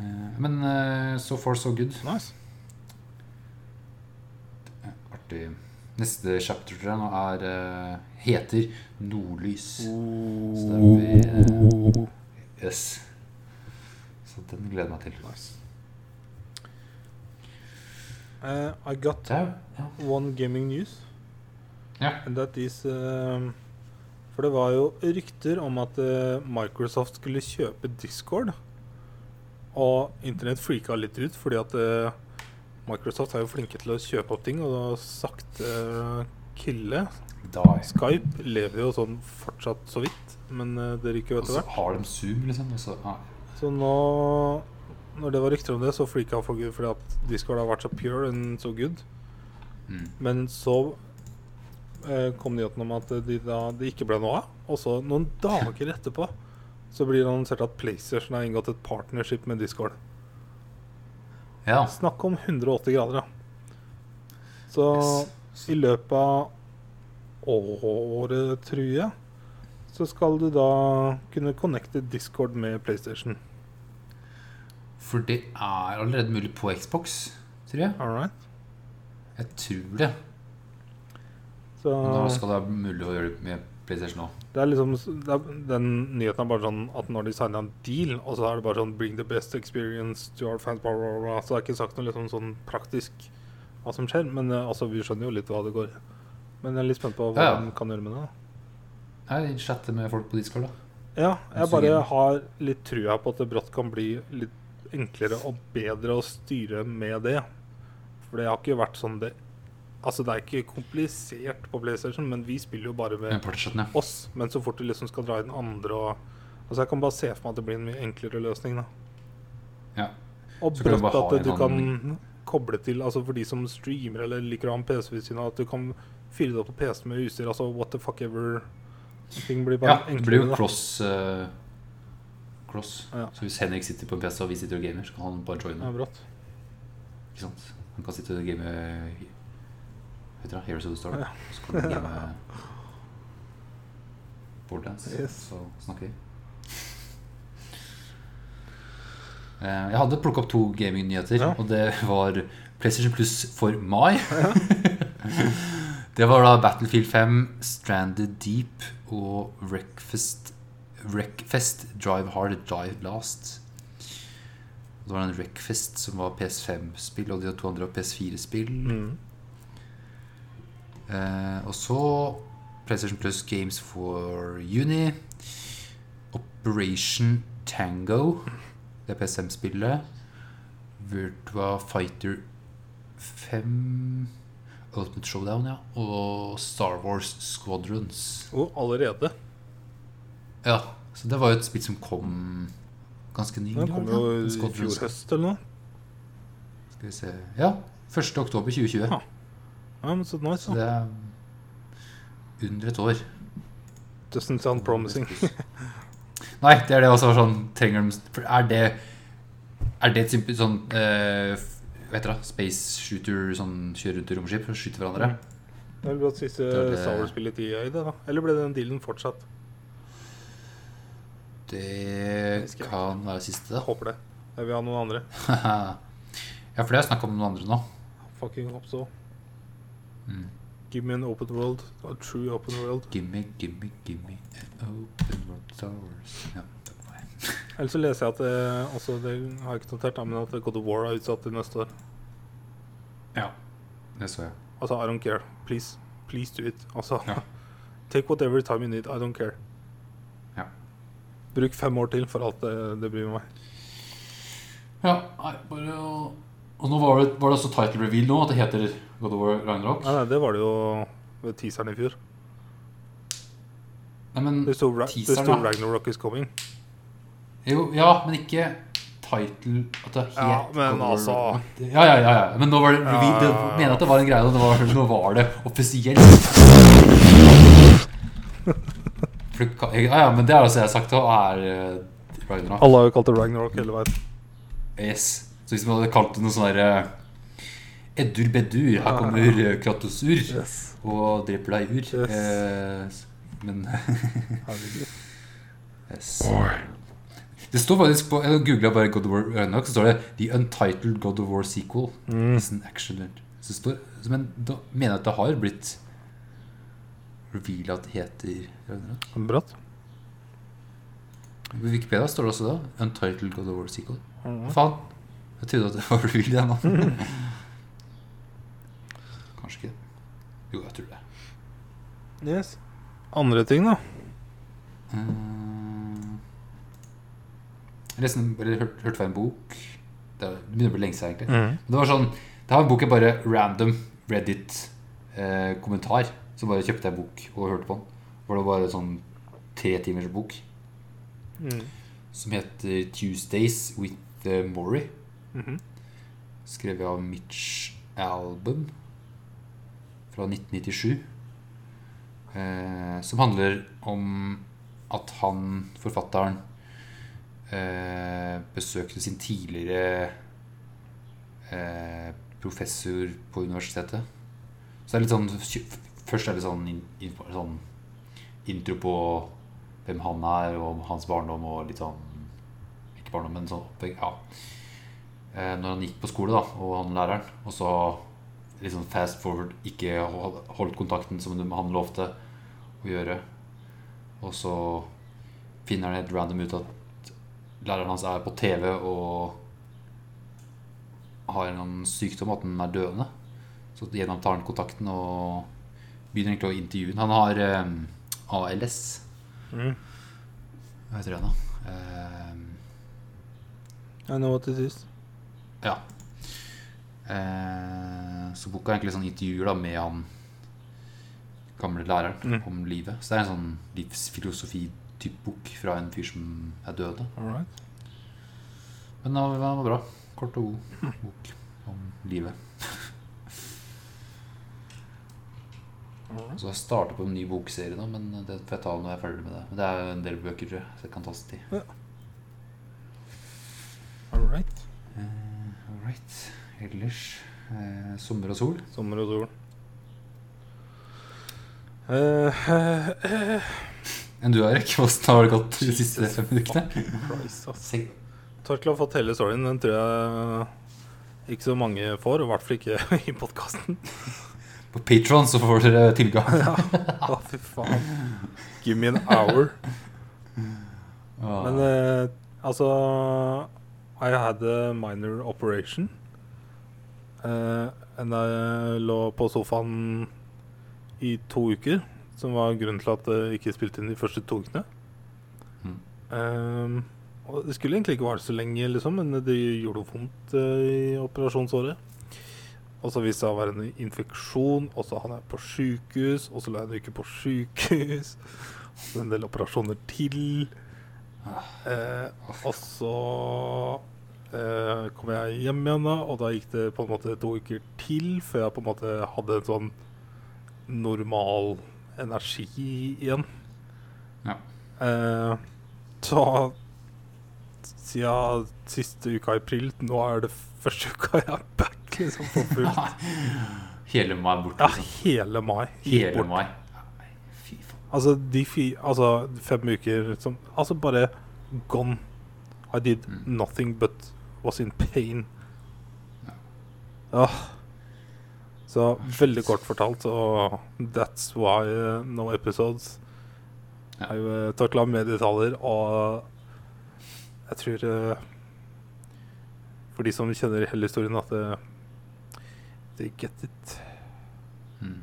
S2: Eh, Men eh, so far so good.
S1: Nice.
S2: Artig. Neste chapter tror jeg nå er eh, heter Nordlys. Så det blir, Yes. Så den gleder jeg meg til.
S1: Nice. Uh, I got
S2: Det er jo ja.
S1: one gaming news.
S2: Ja.
S1: And that is um, For det var jo rykter om at eh, Microsoft skulle kjøpe Discord. Og internett freaka litt ut, fordi at eh, Microsoft er jo flinke til å kjøpe opp ting og da sakte eh, kille.
S2: Die.
S1: Skype lever jo sånn fortsatt så vidt, men eh, det ryker jo
S2: Og
S1: etter
S2: så
S1: hvert.
S2: har de Zoom, liksom. Og så, nei.
S1: Så nå, når det var rykter om det, så freaka folk ut fordi at Discord har vært så pure and so good.
S2: Mm.
S1: Men så eh, kom nyheten om at de da, det ikke ble noe av. Og så noen dager etterpå så blir det annonsert at PlayStation har inngått et partnership med Discord.
S2: Ja.
S1: Snakk om 180 grader, da. Så
S2: Yes.
S1: i løpet av året, tror jeg, så skal du da kunne connecte Discord med PlayStation.
S2: For det er allerede mulig på Xbox, tror jeg.
S1: All right?
S2: Jeg tror det.
S1: Så
S2: Men da skal det være mulig å gjøre det med PlayStation òg.
S1: det er liksom det er, Den nyheten er bare sånn at når de signer en deal, og så er det bare sånn Bring the best experience to our fans, blah, blah, blah. Så det er ikke sagt noe liksom sånn praktisk hva som skjer, men eh, altså, vi skjønner jo litt hva det går i. Men jeg er litt spent på hva
S2: Ja, ja.
S1: de kan gjøre med det. da.
S2: Jeg chatter med folk på Discord, da.
S1: Ja, jeg
S2: Så
S1: bare
S2: gøy.
S1: har litt trua på at det brått kan bli litt enklere og bedre å styre med det. For det har ikke vært sånn det Altså, det er ikke komplisert på PlayStation, men vi spiller jo bare
S2: Med
S1: med
S2: partychatten, ja.
S1: oss. Men så fort du liksom skal dra inn andre og Altså, jeg kan bare se for meg at det blir en mye enklere løsning, da.
S2: ja.
S1: Og
S2: Så kan du
S1: brått
S2: bare ha
S1: at
S2: en
S1: du kan
S2: sånn-
S1: koble til Altså for de som streamer eller liker å ha en PC ved siden av, at du kan fyre det opp på PC med utstyr. Altså what the fuck ever. Ting blir
S2: ja
S1: bare
S2: det blir
S1: enklere.
S2: jo
S1: da.
S2: cross. eh, cross.
S1: Ja.
S2: Så hvis Henrik sitter på en PC og vi sitter og gamer, så kan han bare
S1: Ja,
S2: joine.
S1: brått.
S2: Ikke sant? Han kan sitte og game eh, Vet du hva, Heroes of the Storm.
S1: Ja.
S2: Så kan han game Borderlands.
S1: Yes.
S2: Så snakker vi. Eh, Jeg hadde plukket opp to gaming-nyheter,
S1: Ja.
S2: og det var PlayStation Plus for mai. det var da Battlefield 5, Stranded Deep og Wreckfest, Wreckfest Drive Hard Dive Last. Og Det var en Wreckfest som var PS5-spill, og de to andre var PS4-spill.
S1: Mm.
S2: Eh, og så PlayStation Plus Games for juni. Operation Tango, det er PSM-spillet. Virtua Fighter 5 Ultimate Showdown, ja. Og Star Wars Squadrons.
S1: Og allerede.
S2: Ja, så det var jo et spill som kom ganske nylig.
S1: Den kom
S2: var det
S1: jo
S2: ikke?
S1: i
S2: Squadrons.
S1: fjor høst eller noe.
S2: Skal vi se Ja, 1. oktober 2020.
S1: Ja. Ja, men så nice.
S2: Så
S1: da.
S2: det er under et år.
S1: Doesn't sound promising.
S2: Nei, det er det også sånn Trenger de for Er det Er det et type sånn eh, f- Hva heter det? Space shooter Sånn kjører rundt i romskip og skyter
S1: Mm.
S2: hverandre?
S1: Det er vel blant siste
S2: Det er det-
S1: Star Wars-spillet i tida i det, da. Eller ble den dealen fortsatt?
S2: Det
S1: husker jeg.
S2: kan være siste,
S1: Jeg håper det. Jeg vil ha noen andre.
S2: da. ja, for det er snakk om noen andre nå.
S1: Fucking hopp så.
S2: Mm.
S1: Give me an open world. A true open world.
S2: Gimme, gimme, gimme an Open world doors. Ja, takk for meg.
S1: Ellers så leser jeg at eh, Altså, det har jeg ikke notert, da, men at God of War er utsatt til neste år.
S2: Det så jeg.
S1: Altså, I don't care. Please. Please do it. Altså
S2: Ja.
S1: Take whatever time you need. I don't care.
S2: Ja.
S1: Bruk fem år til for alt det, det blir med meg.
S2: Ja, nei, bare å Og nå var det, var det også title reveal nå, at det heter God of War Ragnarok.
S1: Nei, nei, det var det jo ved teaseren i fjor.
S2: Nei, men
S1: Det sto, Ra det
S2: Teaseren,
S1: sto
S2: da.
S1: Ragnarok is coming.
S2: Jo, ja, men ikke title At det het
S1: Ja, men
S2: God of War
S1: altså.
S2: Ragnarok. Ja, ja, ja, ja. Men nå var det
S1: Ja,
S2: vi,
S1: ja,
S2: det,
S1: ja.
S2: mener at det var en greie, og det var, nå var det offisielt. For det kan- Ja, ja, men det er altså jeg har sagt, da er eh, Ragnarok.
S1: Alle har jo kalt det Ragnarok hele veien.
S2: Yes. Så hvis man hadde kalt det noe sånn derre Eddur beddur, her kommer eh, Kratosur
S1: Yes.
S2: og dreper deg ur.
S1: Yes.
S2: Eh, s- men
S1: Herregud.
S2: Yes. Det står faktisk på Jeg googlet bare God of War Ragnarok, så står det The Untitled God of War Sequel.
S1: Mm.
S2: is an action alert. Så det står, men da mener jeg at det har blitt revealet at det heter Ragnarok.
S1: Bratt.
S2: På Wikipedia står det også da 'Untitled God of War Sequel'.
S1: Mhm.
S2: Faen! Jeg trodde at det var real, jeg nå. Kanskje ikke. Jo, jeg tror det.
S1: Yes. Andre ting, da?
S2: Eh, Jeg leste en- eller hørte hørt fra en bok Det er- det begynner å bli lenge siden, egentlig.
S1: Mm.
S2: Men Det var sånn Det her var en bok jeg bare random Reddit-kommentar. så bare kjøpte jeg en bok og hørte på den. Hvor det var en sånn tre timers bok
S1: Mhm.
S2: som heter 'Tuesdays with eh, Maury'.
S1: Mhm.
S2: skrevet av Mitch Album fra 1997. Eh, som handler om at han, forfatteren, eh, besøkte sin tidligere eh, professor på universitetet. Så det er litt sånn Først er det sånn, in, in, sånn intro på hvem han er, og hans barndom, og litt sånn Ikke barndom, men sånn oppvekst. Ja eh, når han gikk på skole, da, og han læreren. Og så litt sånn fast forward, ikke hold- holdt kontakten som han lovte å gjøre. Og så finner han helt random ut at læreren hans er på TV og har en eller annen sykdom, at han er døende. Så gjenopptar han kontakten og begynner egentlig å intervjue ham. Han har eh, ALS.
S1: Mhm.
S2: Hva heter det nå? Eh,
S1: I know what it is.
S2: Ja. Eh, så boka er egentlig sånn intervjuer da med han gamle læreren
S1: Mm.
S2: om livet. Så det er en sånn livsfilosofi-type bok fra en fyr som er død. da.
S1: All right.
S2: Men den var- den var bra. Kort og god bok om livet. Så jeg starter på en ny bokserie, da, men det får jeg ta når jeg er ferdig med det. Men det er jo en del bøker, tror jeg, så det kan tas tid.
S1: All right.
S2: Eh, all right. Ellers eh, sommer og sol.
S1: Sommer og sol. Eh,
S2: Enn du, Erik? Hvordan har det gått de siste
S1: Jesus
S2: fem ukene?
S1: Christ, ass.
S2: Se-
S1: Torkel har fått hele storyen. Den tror jeg ikke så mange får. og I hvert fall ikke i podkasten.
S2: På Patron så får dere tilgang.
S1: Å, fy faen. Give me an hour. Men eh, altså I had a minor operation. Eh, and jeg lå på sofaen i to uker, som var grunnen til at jeg ikke spilte inn de første to ukene.
S2: Mm.
S1: Eh, og det skulle egentlig ikke vare så lenge, liksom, men det gjorde vondt eh, i operasjonsåret. Og så viste det seg å være en infeksjon, og så havnet jeg på sjukehus, og så lå jeg en uke på sjukehus. Og så en del operasjoner til. Eh, og så eh, kom jeg hjem igjen, da, og da gikk det på en måte to uker til før jeg på en måte hadde en sånn normal energi igjen.
S2: Ja.
S1: Eh, så siden siste uka i april, nå er det første uka jeg er back liksom, på fullt.
S2: Hele mai er borte.
S1: Ja,
S2: Liksom.
S1: hele mai.
S2: Hele
S1: Helt bort.
S2: mai. Nei, Fy faen.
S1: Altså, de fi, altså fem uker som Altså, bare gone. I did
S2: Mm.
S1: nothing but was in pain.
S2: Ja.
S1: Åh. Så veldig kort fortalt, så that's why uh, no episodes.
S2: Ja.
S1: Jeg uh, takla med detaljer, og jeg tror eh, For de som kjenner hele historien, at det They get it.
S2: Mm.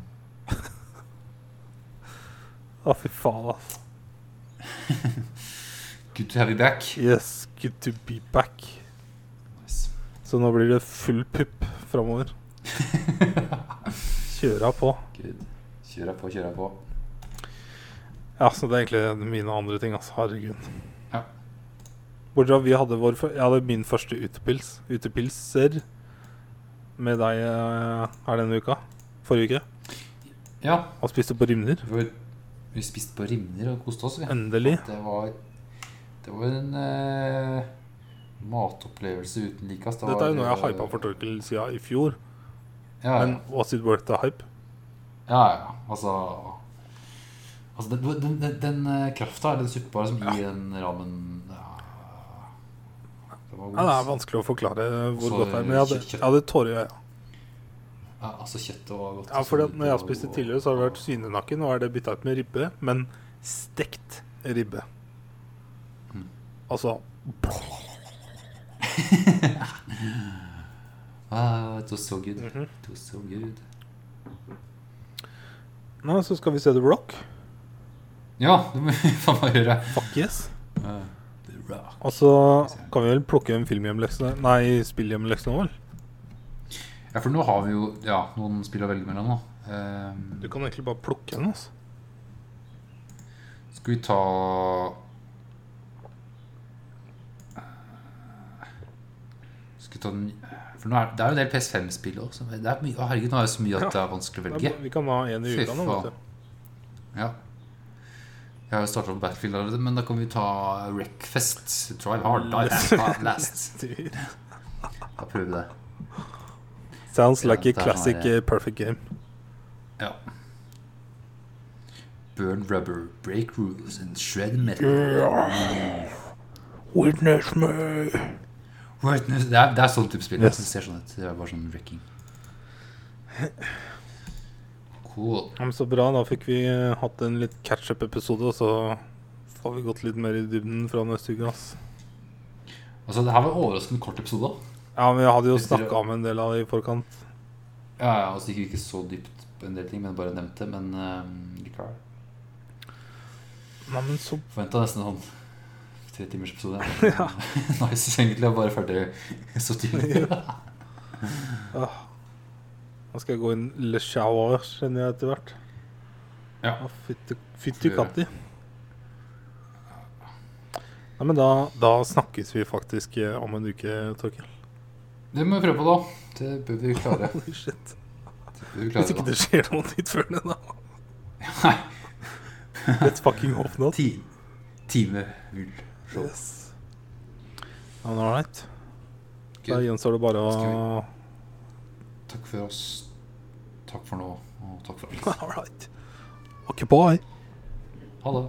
S1: Å, fy faen, ass.
S2: Good to have you back.
S1: Yes, good to be back.
S2: Nice.
S1: Så nå blir det full pupp framover. Kjøra på.
S2: Good. Kjør deg på, kjør deg på.
S1: Ja, så det er egentlig mine andre ting, altså. Herregud.
S2: Ja.
S1: Bortsett fra at vi hadde vår fø- Jeg hadde min første utepils. Utepilser med deg eh, her denne uka. Forrige uke.
S2: Ja,
S1: Og spiste på Rimner.
S2: vi, var, vi spiste på Rimner og koste oss. Vi.
S1: Endelig.
S2: Det var, det var en eh, matopplevelse uten like. ass. Det
S1: Dette er jo noe jeg
S2: var,
S1: har hypa for Torkel siden i fjor.
S2: Ja,
S1: Men was it worth the hype?
S2: ja, ja. Altså, altså den, den, den, den eh, krafta, eller den suppa som gir den rammen ja. Det var god.
S1: Ja, det
S2: ass.
S1: er vanskelig å forklare hvor
S2: Så
S1: godt det er. Men jeg hadde,
S2: kjø-
S1: jeg hadde tårer i øya.
S2: Ja, altså kjøttet var godt.
S1: Ja,
S2: og
S1: for
S2: sånn,
S1: når jeg har
S2: og-
S1: spist det tidligere, så har det vært svinenakken. Nå er det bytta ut med ribbe, men stekt ribbe.
S2: Mm.
S1: Altså
S2: Ah, it was so good.
S1: mhm.
S2: It was so good.
S1: Nei, så skal vi se The Rock.
S2: Ja, det må vi faen meg gjøre.
S1: Fuck yes.
S2: Ah, The Rock.
S1: Og så Altså, kan vi vel plukke en filmhjemlekse Nei, spillhjemlekse nå, vel?
S2: Ja, for nå har vi jo ja, noen spill å velge mellom, da. Ehm,
S1: Du kan egentlig bare plukke den. altså
S2: Skal vi ta Eh, Skal vi ta den For nå er, det er jo en del PS5-spill òg. Herregud, nå er det så mye at det er vanskelig å
S1: Nei,
S2: velge.
S1: Vi kan ha en i
S2: Fy
S1: uka nå. vet
S2: faen. Ja. Jeg har jo starta på Battlefield allerede, men da kan vi ta Wreckfest. Trial Hard Dice Hard Last.
S1: du
S2: Da prøver vi det.
S1: Sounds
S2: Ja,
S1: like a
S2: der har
S1: classic
S2: jeg-
S1: eh, perfect game.
S2: Ja. Burn rubber, break rules and shred
S1: Mm.
S2: metal.
S1: Witness me!
S2: Witness. Det er, det er sånn type spill.
S1: Yes.
S2: Det ser sånn ut. Det er bare sånn wrecking. Cool.
S1: Ja, men så bra, da fikk vi eh, hatt en litt catch-up-episode, og så får vi gått litt mer i dybden fra neste uke. ass.
S2: Altså, det her var en overraskende kort episode. da.
S1: Ja, men jeg hadde jo
S2: Hvis dere-
S1: snakka om en del av det i forkant.
S2: Ja, ja, altså ikke, ikke så dypt på en del ting, men bare nevnte. Men eh, likevel.
S1: Nei, men så
S2: Forventa nesten sånn tre timers episode. Ja. nice, egentlig. Og bare ferdig så tidlig.
S1: ah. Nå skal jeg gå inn le shower, kjenner jeg etter hvert.
S2: Ja.
S1: Å, fytte-
S2: Skal
S1: Fytti
S2: vi gjøre
S1: katti. Nei, men da, da snakkes vi faktisk eh, om en uke, Torkild.
S2: Det må vi prøve på, da. Det bør vi klare.
S1: Holy shit.
S2: Det bør vi
S1: Hvis
S2: klare
S1: ikke
S2: da.
S1: det skjer noe nytt før det, da.
S2: Nei.
S1: Let's fucking hope not.
S2: Ti time hull. Show.
S1: Yes. Ja, men all right. Da
S2: Good.
S1: gjenstår det bare å
S2: Takk for oss. Takk for nå, og takk for alt.
S1: All right. Okay, bye.
S2: Ha det.